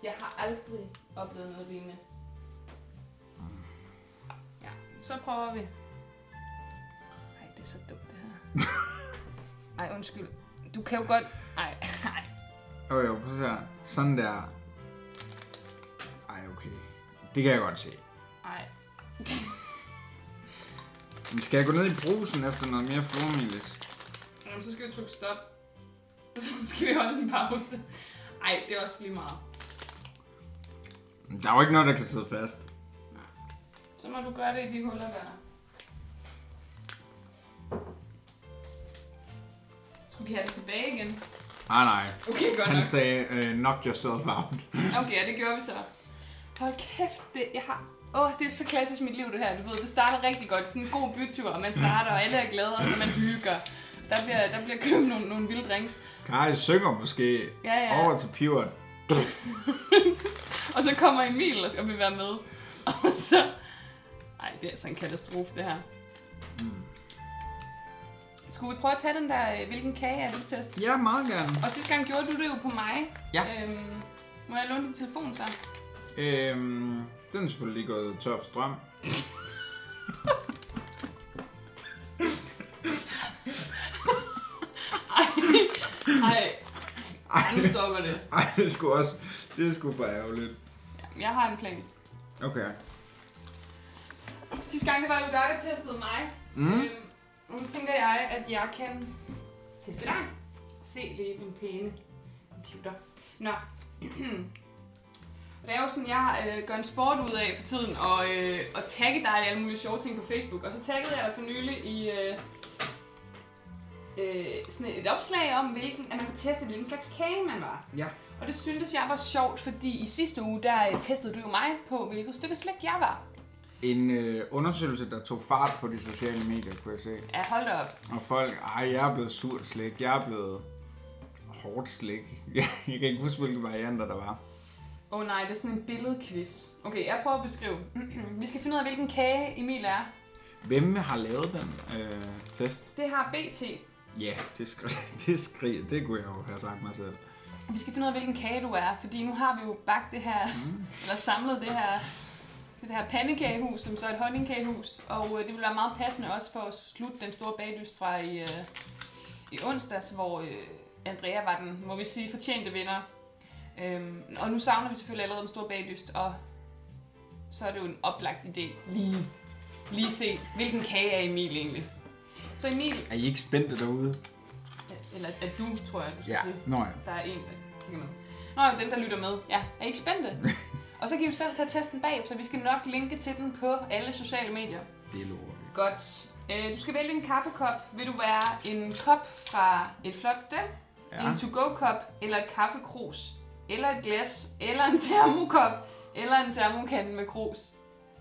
[SPEAKER 1] jeg har aldrig oplevet noget lignende. Mm. Ja, så prøver vi. Ej, det er så dumt det her. Ej, undskyld. Du kan jo godt... Ej, ej.
[SPEAKER 2] Jo jo, prøv at se her. Sådan der. Ej, okay. Det kan jeg godt se.
[SPEAKER 1] Ej.
[SPEAKER 2] Men skal jeg gå ned i brusen efter noget mere flormelis?
[SPEAKER 1] Jamen, så skal vi trykke stop. Så skal vi holde en pause. Ej, det er også lige meget.
[SPEAKER 2] Der er jo ikke noget, der kan sidde fast.
[SPEAKER 1] Så må du gøre det i de huller der. Skulle de have det tilbage igen?
[SPEAKER 2] Nej, Ah, nej.
[SPEAKER 1] Okay, godt
[SPEAKER 2] Han
[SPEAKER 1] nok.
[SPEAKER 2] sagde, øh, knock yourself out.
[SPEAKER 1] Okay, ja, det gjorde vi så. Hold kæft, det, jeg har... Åh, oh, det er så klassisk mit liv, det her. Du ved, det starter rigtig godt. Sådan en god bytur, og man starter, og alle er glade, og man hygger. Der bliver, der bliver købt nogle, nogle vilde drinks.
[SPEAKER 2] Kari synger måske
[SPEAKER 1] Ja, ja.
[SPEAKER 2] over til Pivot.
[SPEAKER 1] Og så kommer Emil og skal vi være med. Og så... Ej, det er altså en katastrofe, det her. Mm. Skulle vi prøve at tage den der, øh, hvilken kage er du test?
[SPEAKER 2] Ja, meget gerne.
[SPEAKER 1] Og sidste gang gjorde du det jo på mig.
[SPEAKER 2] Ja.
[SPEAKER 1] Øhm, må jeg låne din telefon så?
[SPEAKER 2] Øhm, den er selvfølgelig gået tør for strøm.
[SPEAKER 1] Ej, ej. Ej, nu stopper det.
[SPEAKER 2] Ej, det er sgu også... Det er sgu for ærgerligt.
[SPEAKER 1] Jeg har en plan.
[SPEAKER 2] Okay.
[SPEAKER 1] Sidste gang, det var jo dig, der testede mig.
[SPEAKER 2] Mm.
[SPEAKER 1] Øhm, og nu tænker jeg, at jeg kan teste dig. Se lige min pæne computer. Nå. Og Det er jo sådan, jeg øh, gør en sport ud af for tiden, og, øh, og tagge dig i alle mulige sjove ting på Facebook. Og så taggede jeg dig for nylig i øh, øh, sådan et opslag om, hvilken, at man kunne teste, hvilken slags kage man var.
[SPEAKER 2] Ja.
[SPEAKER 1] Og det syntes jeg var sjovt, fordi i sidste uge, der øh, testede du jo mig på, hvilket stykke slik jeg var.
[SPEAKER 2] En øh, undersøgelse, der tog fart på de sociale medier, kunne jeg se.
[SPEAKER 1] Ja, hold da op.
[SPEAKER 2] Og folk, ej, jeg er blevet surt slik, jeg er blevet hårdt slik. Jeg, jeg kan ikke huske, hvilke varianter der var.
[SPEAKER 1] Åh oh, nej, det er sådan en billedquiz. Okay, jeg prøver at beskrive. Vi skal finde ud af, hvilken kage Emil er.
[SPEAKER 2] Hvem har lavet den øh, test?
[SPEAKER 1] Det har BT.
[SPEAKER 2] Ja, det skriger, det, skrig, det kunne jeg jo have sagt mig selv.
[SPEAKER 1] Vi skal finde ud af, hvilken kage du er, fordi nu har vi jo bagt det her, eller samlet det her, det her pandekagehus, som så er et honningkagehus. Og øh, det vil være meget passende også for at slutte den store baglyst fra i, øh, i onsdags, hvor øh, Andrea var den, må vi sige, fortjente vinder. Øhm, og nu savner vi selvfølgelig allerede den store baglyst, og så er det jo en oplagt idé lige, lige se, hvilken kage er Emil egentlig. Så Emil,
[SPEAKER 2] Er I ikke spændte derude?
[SPEAKER 1] eller at du, tror jeg, du skal sige.
[SPEAKER 2] Nå ja.
[SPEAKER 1] Der er en, der kigger med. Nå, dem der lytter med. Ja, er I ikke spændte? og så kan I jo selv tage testen bag, så vi skal nok linke til den på alle sociale medier.
[SPEAKER 2] Det lover vi.
[SPEAKER 1] Godt. Øh, du skal vælge en kaffekop. Vil du være en kop fra et flot sted, ja.
[SPEAKER 2] Ja.
[SPEAKER 1] en to-go-kop, eller et kaffekrus, eller et glas, eller en termokop, eller en termokande med krus?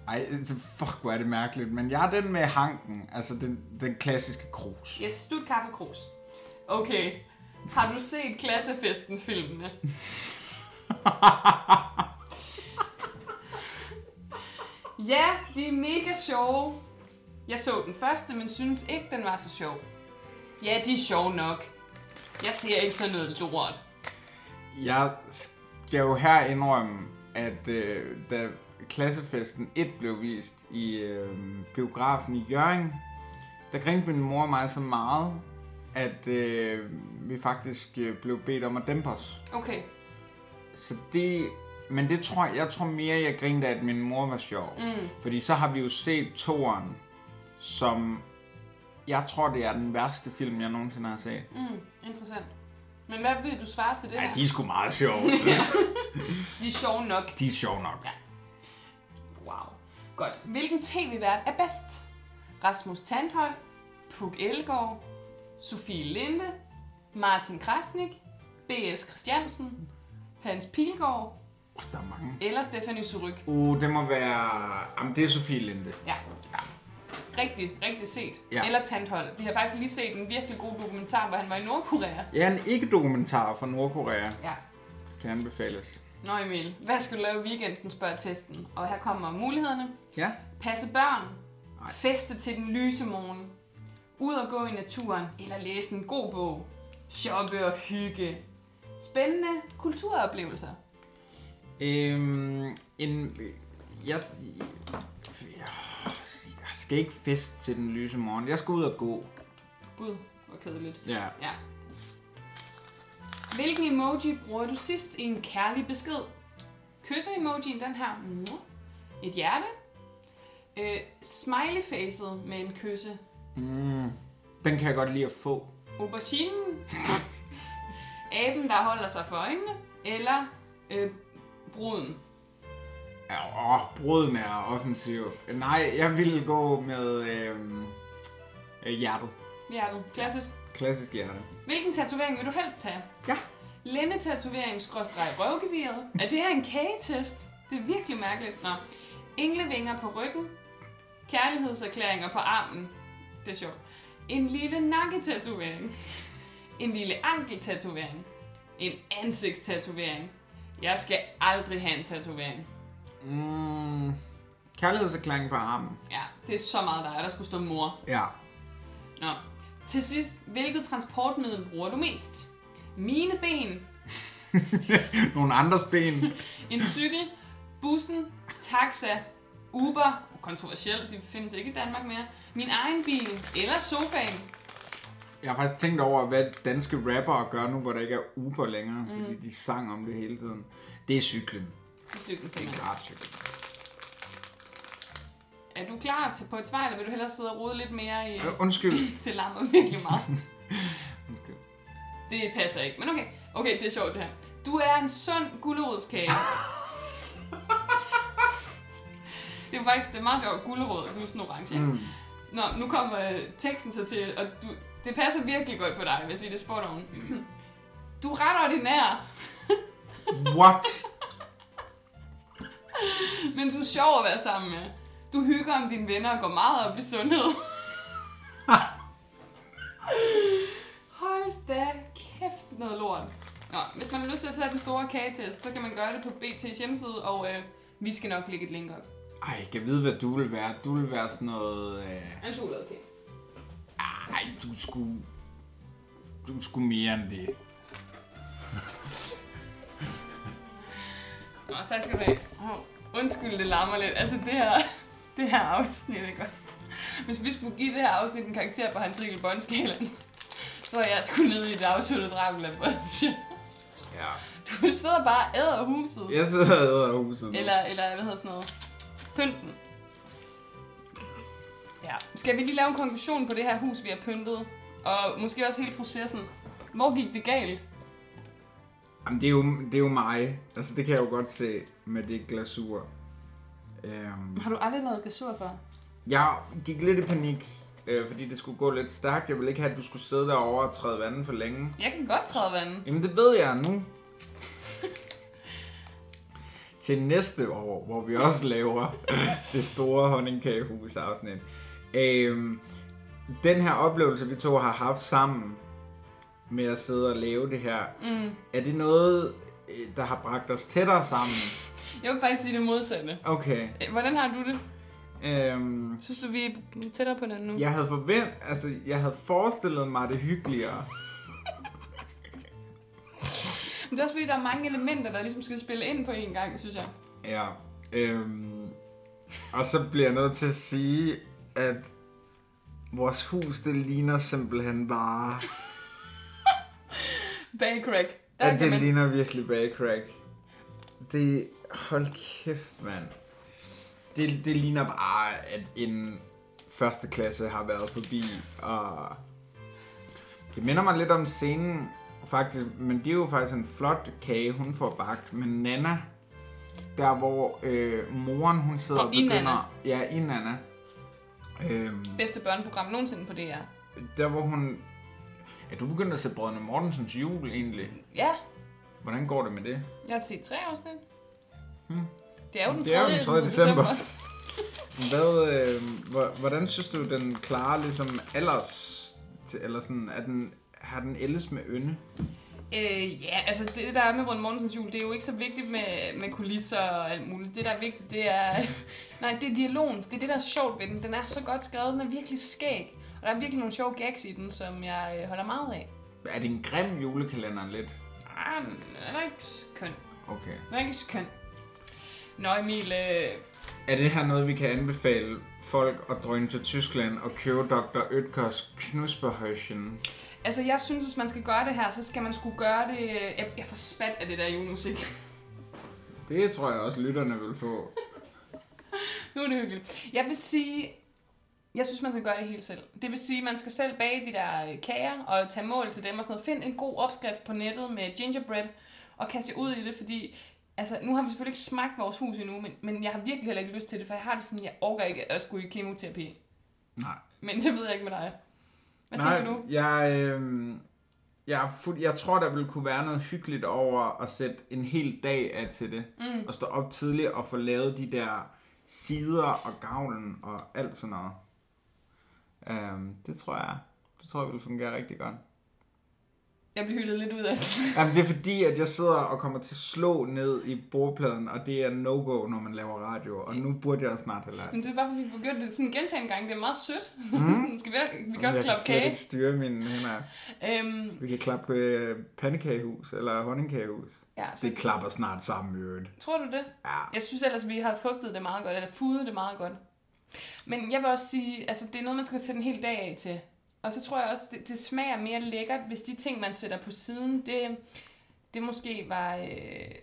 [SPEAKER 2] Ej, altså, fuck, hvor er det mærkeligt. Men jeg er den med hanken. Altså, den, den klassiske krus.
[SPEAKER 1] Yes, du er et kaffekrus. Okay. Har du set Klassefesten-filmene? ja, de er mega sjove. Jeg så den første, men synes ikke, den var så sjov. Ja, de er sjove nok. Jeg ser ikke sådan noget lort.
[SPEAKER 2] Jeg skal jo her indrømme, at øh, da klassefesten 1 blev vist i øh, biografen i Jørgen, der grinte min mor og mig så meget, at øh, vi faktisk øh, blev bedt om at dæmpe os.
[SPEAKER 1] Okay,
[SPEAKER 2] Så det... Men det tror jeg, jeg tror mere, jeg grinte af, at min mor var sjov. Mm. Fordi så har vi jo set toren, som... Jeg tror, det er den værste film, jeg nogensinde har set. Ja.
[SPEAKER 1] interessant. Men hvad vil du svare til det her?
[SPEAKER 2] Ej, de er sgu meget sjove.
[SPEAKER 1] de er sjove nok.
[SPEAKER 2] de er sjove nok.
[SPEAKER 1] Wow. Godt. Hvilken tv-vært er bedst? Rasmus Tandholm, Puk Elgård, Sofie Linde, Martin Krasnik, B.S. Christiansen, Hans Pilgaard
[SPEAKER 2] Der er mange.
[SPEAKER 1] eller Stefanie Suryk.
[SPEAKER 2] Uh, det må være... Jamen, det er Sofie Linde.
[SPEAKER 1] Ja. Rigtig, rigtig set.
[SPEAKER 2] Ja.
[SPEAKER 1] Eller Tandholm. Vi har faktisk lige set en virkelig god dokumentar, hvor han var i Nordkorea.
[SPEAKER 2] Ja, en ikke-dokumentar fra Nordkorea
[SPEAKER 1] Ja.
[SPEAKER 2] kan anbefales.
[SPEAKER 1] Nå Emil, hvad skal du lave i weekenden, spørger testen. Og her kommer mulighederne.
[SPEAKER 2] Ja.
[SPEAKER 1] Passe børn. Ej. Feste til den lyse morgen. Ud og gå i naturen. Eller læse en god bog. Shoppe og hygge. Spændende kulturoplevelser.
[SPEAKER 2] Øhm, en... Jeg... Jeg skal ikke fest til den lyse morgen. Jeg skal ud og gå.
[SPEAKER 1] Gud, hvor kedeligt.
[SPEAKER 2] Ja.
[SPEAKER 1] Ja. Hvilken emoji bruger du sidst i en kærlig besked? Kysse-emojien, den her. Mua. Et hjerte. Øh, smiley-facet med en kysse.
[SPEAKER 2] Mm, den kan jeg godt lide at få.
[SPEAKER 1] auberginen, aben, der holder sig for øjnene, eller øh, bruden.
[SPEAKER 2] Ja, åh, brøden er offensiv. Nej, jeg ville gå med øhm, øh, hjertet.
[SPEAKER 1] Hjertet. Klassisk.
[SPEAKER 2] Klassisk hjerte.
[SPEAKER 1] Hvilken tatovering vil du helst have?
[SPEAKER 2] Ja.
[SPEAKER 1] Lændetatovering skråstreg røvgeviret. Er det her en kagetest? Det er virkelig mærkeligt. Nå. Englevinger på ryggen. Kærlighedserklæringer på armen. Det er sjovt. En lille nakketatovering. En lille ankeltatovering. En ansigtstatovering. Jeg skal aldrig have en tatovering.
[SPEAKER 2] Mm, kærlighedserklæring på armen.
[SPEAKER 1] Ja, det er så meget dig, der skulle stå mor.
[SPEAKER 2] Ja.
[SPEAKER 1] Nå. Til sidst, hvilket transportmiddel bruger du mest? Mine ben,
[SPEAKER 2] Nogle andres ben.
[SPEAKER 1] En cykel, bussen, taxa, Uber, kontroversielt, de findes ikke i Danmark mere, min egen bil eller sofaen.
[SPEAKER 2] Jeg har faktisk tænkt over, hvad danske rappere gør nu, hvor der ikke er Uber længere. Mm. Fordi de sang om det hele tiden. Det er cyklen.
[SPEAKER 1] Det er Cyklen,
[SPEAKER 2] Det er
[SPEAKER 1] simpelthen.
[SPEAKER 2] klart cyklen.
[SPEAKER 1] Er du klar til på et svar, eller vil du hellere sidde og rode lidt mere i...
[SPEAKER 2] Øh, Undskyld.
[SPEAKER 1] Det larmer virkelig meget. Det passer ikke, men okay. Okay, det er sjovt det her. Du er en sund gulerodskage. det er faktisk det er meget sjovt. Gulerod, du er sådan orange, ikke?
[SPEAKER 2] Mm.
[SPEAKER 1] Nå, nu kommer øh, teksten så til, og du, det passer virkelig godt på dig, hvis jeg sige det er spot on. Du er ret ordinær,
[SPEAKER 2] What?
[SPEAKER 1] men du er sjov at være sammen med. Du hygger om dine venner og går meget op i sundhed. Hold da kæft noget lort. Nå, hvis man har lyst til at tage den store kagetest, så kan man gøre det på BT's hjemmeside, og øh, vi skal nok lægge et link op.
[SPEAKER 2] Ej, jeg kan vide, hvad du vil være. Du vil være sådan noget... Øh...
[SPEAKER 1] En chokolade kage.
[SPEAKER 2] Ej, du skulle... Du skulle mere end det.
[SPEAKER 1] Nå, tak skal du have. Hov, Undskyld, det larmer lidt. Altså, det her, det her afsnit er godt. Hvis vi skulle give det her afsnit en karakter på hans rigel båndskalaen, så er jeg skulle nede i et afsluttet dragula
[SPEAKER 2] Ja.
[SPEAKER 1] Du sidder bare og æder huset.
[SPEAKER 2] Jeg sidder og æder huset nu.
[SPEAKER 1] Eller, eller hvad hedder sådan noget? Pynten. Ja. Skal vi lige lave en konklusion på det her hus, vi har pyntet? Og måske også hele processen. Hvor gik det galt?
[SPEAKER 2] Jamen, det er, jo, det er jo mig. Altså, det kan jeg jo godt se med det glasur. Øhm,
[SPEAKER 1] Har du aldrig lavet glasur før?
[SPEAKER 2] jeg gik lidt i panik, øh, fordi det skulle gå lidt stærkt. Jeg ville ikke have, at du skulle sidde derovre og træde vandet for længe.
[SPEAKER 1] Jeg kan godt træde vandet.
[SPEAKER 2] Jamen, det ved jeg nu. Til næste år, hvor vi også laver det store honningkagehus afsnit. Øhm, den her oplevelse, vi to har haft sammen med at sidde og lave det her, mm. er det noget, øh, der har bragt os tættere sammen?
[SPEAKER 1] Jeg vil faktisk sige det modsatte.
[SPEAKER 2] Okay.
[SPEAKER 1] Øh, Hvordan har du det?
[SPEAKER 2] Øhm,
[SPEAKER 1] Synes du, vi er tættere på hinanden nu?
[SPEAKER 2] jeg havde forvent, altså, jeg havde forestillet mig det hyggeligere.
[SPEAKER 1] Men det er også fordi, der er mange elementer, der ligesom skal spille ind på en gang, synes jeg.
[SPEAKER 2] Ja. Øhm, og så bliver jeg nødt til at sige, at vores hus, det ligner simpelthen bare...
[SPEAKER 1] Bagcrack. Der
[SPEAKER 2] At
[SPEAKER 1] kan
[SPEAKER 2] det
[SPEAKER 1] man...
[SPEAKER 2] ligner virkelig bagcrack. Det... Hold kæft, mand. Det, det ligner bare, at en første klasse har været forbi, og... Det minder mig lidt om scenen, faktisk, men det er jo faktisk en flot kage, hun får bagt med Nana. Der hvor øh, moren, hun sidder
[SPEAKER 1] Og
[SPEAKER 2] og
[SPEAKER 1] i Nana.
[SPEAKER 2] begynder... Ja, i Nana. Øhm,
[SPEAKER 1] Bedste børneprogram nogensinde på DR.
[SPEAKER 2] der hvor hun... Er du begyndt at se Brødrene Mortensens jul egentlig?
[SPEAKER 1] Ja,
[SPEAKER 2] Hvordan går det med det?
[SPEAKER 1] jeg har set tre afsnit. Det er jo den 3.
[SPEAKER 2] Hmm. Det er jo den tredje december. Hvad, øh, hvor- hvordan synes du, den klarer ligesom alders, til- eller sådan, er den, har den ældes med ynde?
[SPEAKER 1] Øh, ja, altså det, der er med Brønd Mortensens jul, det er jo ikke så vigtigt med, med kulisser og alt muligt. Det, der er vigtigt, det er... Nej, det er dialogen. Det er det, der er sjovt ved den. Den er så godt skrevet. Den er virkelig skæg. Og der er virkelig nogle sjove gags i den, som jeg øh, holder meget af.
[SPEAKER 2] Er det en grim julekalender lidt?
[SPEAKER 1] Ah, men den er ikke køn.
[SPEAKER 2] Okay.
[SPEAKER 1] Den er ikke køn. Nå, Emil, øh,
[SPEAKER 2] Er det her noget, vi kan anbefale folk at drøne til Tyskland og købe Dr. Ødkers Knusperhøjschen?
[SPEAKER 1] Altså, jeg synes, hvis man skal gøre det her, så skal man skulle gøre det... øh, Jeg, jeg får spat af det der julemusik.
[SPEAKER 2] Det tror jeg også, lytterne vil få.
[SPEAKER 1] nu er det hyggeligt. Jeg vil sige, Jeg synes, man skal gøre det helt selv. Det vil sige, man skal selv bage de der øh, kager og tage mål til dem og sådan noget. Find en god opskrift på nettet med gingerbread og kast jer ud i det, fordi altså, nu har vi selvfølgelig ikke smagt vores hus endnu, men, men jeg har virkelig heller ikke lyst til det, for jeg har det sådan, jeg orker ikke at skulle i kemoterapi.
[SPEAKER 2] Nej.
[SPEAKER 1] Men det ved jeg ikke med dig. Hvad
[SPEAKER 2] Nej,
[SPEAKER 1] tænker du?
[SPEAKER 2] Jeg, øh, jeg, er fuld, jeg tror, der ville kunne være noget hyggeligt over at sætte en hel dag af til det. Mm. Og stå op tidligt og få lavet de der sider og gavlen og alt sådan noget. Øhm, det tror jeg, det tror jeg ville fungere rigtig godt.
[SPEAKER 1] Jeg bliver hyldet lidt ud af det.
[SPEAKER 2] Jamen, det er fordi, at jeg sidder og kommer til at slå ned i bordpladen, og det er no-go, når man laver radio. Og nu burde jeg snart have lært.
[SPEAKER 1] Men det er bare fordi, du gjorde det sådan gentagende gange. Det er meget sødt. Mm. skal vi, vi kan også
[SPEAKER 2] Mhm. jeg kan
[SPEAKER 1] klappe
[SPEAKER 2] slet
[SPEAKER 1] kage.
[SPEAKER 2] ikke styre mine hænder.
[SPEAKER 1] Øhm,
[SPEAKER 2] Vi kan klappe øh, pandekagehus eller honningkagehus.
[SPEAKER 1] ja, så
[SPEAKER 2] Det klapper snart sammen i øvrigt.
[SPEAKER 1] Tror du det?
[SPEAKER 2] Ja.
[SPEAKER 1] Jeg synes ellers, vi har fugtet det meget godt, eller fudet det meget godt. Men jeg vil også sige, altså det er noget, man skal sætte en hel dag af til. Og så tror jeg også, det, det smager mere lækkert, hvis de ting, man sætter på siden, det, det måske var øh,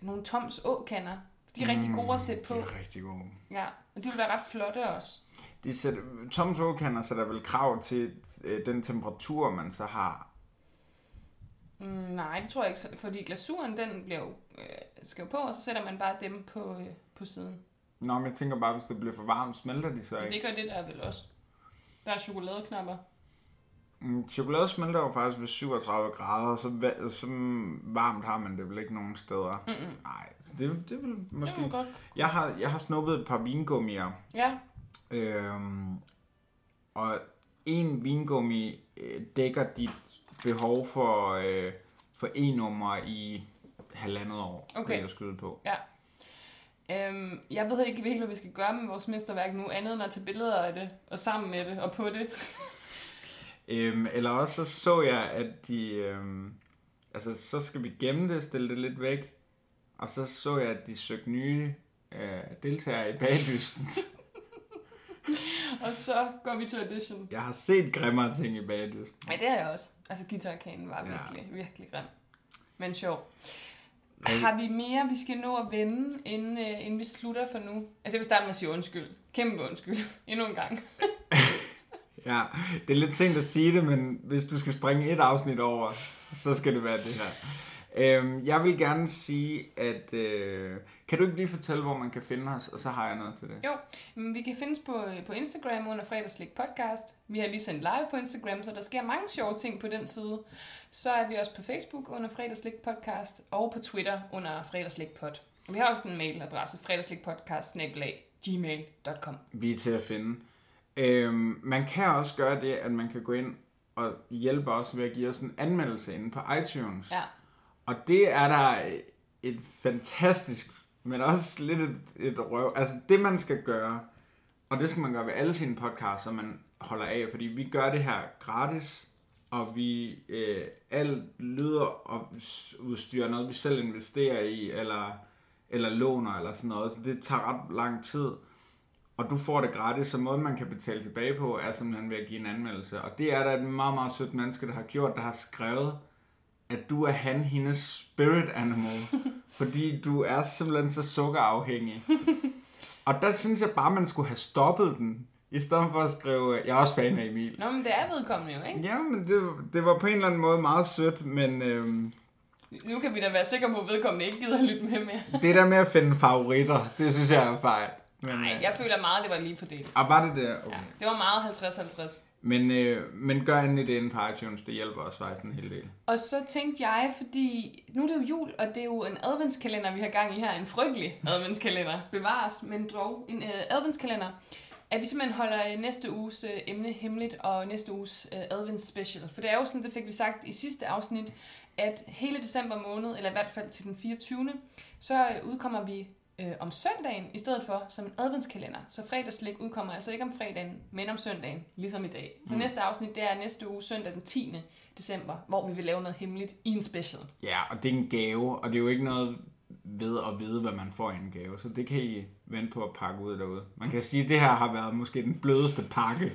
[SPEAKER 1] nogle Toms åkander. De er mm, rigtig gode at sætte på.
[SPEAKER 2] Det er rigtig god.
[SPEAKER 1] Ja, og de vil være ret flotte også.
[SPEAKER 2] De sætter, Toms Åkander sætter vel krav til øh, den temperatur, man så har.
[SPEAKER 1] Mm, nej, det tror jeg ikke, så- fordi glasuren, den bliver jo, øh, skal jo på, og så sætter man bare dem på, øh, på siden.
[SPEAKER 2] Nå, men jeg tænker bare, hvis det bliver for varmt, smelter de så
[SPEAKER 1] Men
[SPEAKER 2] ikke?
[SPEAKER 1] det gør det der vel også. Der er chokoladeknapper.
[SPEAKER 2] Mm, Chokolade smelter jo faktisk ved 37 grader, så, va- så varmt har man det vel ikke nogen steder. Mm-mm. Nej, så det, det vil
[SPEAKER 1] Det må man
[SPEAKER 2] måske...
[SPEAKER 1] godt.
[SPEAKER 2] Jeg har, jeg har snuppet et par vingummier,
[SPEAKER 1] Ja,
[SPEAKER 2] Øhm, og en vingummi øh, dækker dit behov for, øh, for en nummer i halvandet år,
[SPEAKER 1] Okay.
[SPEAKER 2] vil jeg skyde på.
[SPEAKER 1] Øhm, jeg ved ikke helt, hvad vi skal gøre med vores mesterværk nu, andet end at tage billeder af det, og sammen med det, og på det.
[SPEAKER 2] Øhm, eller også så, så jeg, at de... Øhm, altså, så skal vi gemme det, stille det lidt væk. Og så så jeg, at de søgte nye øh, deltagere i bagdysten.
[SPEAKER 1] og så går vi til audition.
[SPEAKER 2] jeg har set grimmere ting i bagdysten.
[SPEAKER 1] Ja, det har jeg også. Altså, guitarkanen var
[SPEAKER 2] Ja.
[SPEAKER 1] virkelig, virkelig grim. Men sjov. Har vi mere, vi skal nå at vende, inden, øh, inden vi slutter for nu? Altså, jeg vil starte med at sige undskyld. Kæmpe undskyld. Endnu en gang.
[SPEAKER 2] Ja, det er lidt sent at sige det, men hvis du skal springe et afsnit over, så skal det være det her. Øhm, jeg vil gerne sige, at... Øh, kan du ikke lige fortælle, hvor man kan finde os, og så har jeg noget til det?
[SPEAKER 1] Jo, men vi kan findes på, øh, på Instagram under Fredagslik Podcast. Vi har lige sendt live på Instagram, så der sker mange sjove ting på den side. Så er vi også på Facebook under Fredagslik Podcast og på Twitter under Fredagslik Pod. Og vi har også en mailadresse, fredagslikpodcast.gmail.com.
[SPEAKER 2] vi er til at finde. Øhm, man kan også gøre det, at man kan gå ind og hjælpe os ved at give os en anmeldelse inde på iTunes.
[SPEAKER 1] Ja.
[SPEAKER 2] Og det er der et fantastisk, men også lidt et, et røv. Altså det, man skal gøre, og det skal man gøre ved alle sine podcasts, som man holder af, fordi vi gør det her gratis, og vi øh, alt lyder og udstyr er noget, vi selv investerer i, eller, eller låner, eller sådan noget. Så det tager ret lang tid og du får det gratis, så måden man kan betale tilbage på, er simpelthen ved at give en anmeldelse. Og det er der et meget, meget sødt menneske, der har gjort, der har skrevet, at du er han, hendes spirit animal, fordi du er simpelthen så sukkerafhængig. Og der synes jeg bare, man skulle have stoppet den, i stedet for at skrive, jeg er også fan af Emil.
[SPEAKER 1] Nå, men det er vedkommende jo, ikke?
[SPEAKER 2] Ja, men det, det var på en eller anden måde meget sødt, men øhm,
[SPEAKER 1] Nu kan vi da være sikre på, at vedkommende ikke gider at lytte med mere.
[SPEAKER 2] det der med at finde favoritter, det synes jeg er fejl. Men,
[SPEAKER 1] Nej,
[SPEAKER 2] øh,
[SPEAKER 1] jeg føler meget, det var lige fordelt.
[SPEAKER 2] Ah, var det det? Okay.
[SPEAKER 1] Ja, det var meget 50-50.
[SPEAKER 2] Men, øh, men gør endelig det inde på iTunes, det hjælper os faktisk en hel del.
[SPEAKER 1] Og så tænkte jeg, fordi nu er det jo jul, og det er jo en adventskalender, vi har gang i her. En frygtelig adventskalender. Bevares, men dog en øh, adventskalender. At vi simpelthen holder øh, næste uges øh, emne hemmeligt, og næste uges øh, adventsspecial. For det er jo sådan, det fik vi sagt i sidste afsnit, at hele december måned, eller i hvert fald til den 24., så øh, udkommer vi øh, om søndagen, i stedet for som en adventskalender. Så fredagslæg udkommer altså ikke om fredagen, men om søndagen, ligesom i dag. Så mm. næste afsnit, det er næste uge, søndag den 10. december, hvor vi vil lave noget hemmeligt i en special.
[SPEAKER 2] Ja, og det er en gave, og det er jo ikke noget ved at vide, hvad man får i en gave, så det kan I vente på at pakke ud derude. Man kan sige, at det her har været måske den blødeste pakke,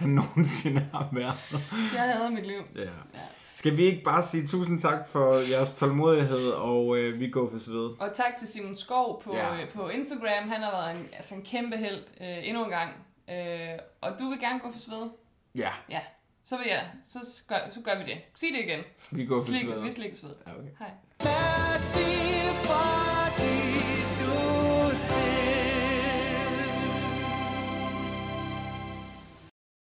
[SPEAKER 2] der nogensinde har været.
[SPEAKER 1] Jeg hader mit liv.
[SPEAKER 2] Ja. Skal vi ikke bare sige tusind tak for jeres tålmodighed, og øh, vi går for sved.
[SPEAKER 1] Og tak til Simon Skov på,
[SPEAKER 2] Ja.
[SPEAKER 1] ja. øh, på Instagram. Han har været en, altså en kæmpe held øh, endnu en gang. Øh, og du vil gerne gå for sved.
[SPEAKER 2] Ja,
[SPEAKER 1] Så vil jeg. Så gør, så gør vi det. Sig det igen.
[SPEAKER 2] vi går for
[SPEAKER 1] Slik,
[SPEAKER 2] sveder.
[SPEAKER 1] vi slikker sved.
[SPEAKER 2] Ja, okay.
[SPEAKER 1] Hej.
[SPEAKER 7] Fancy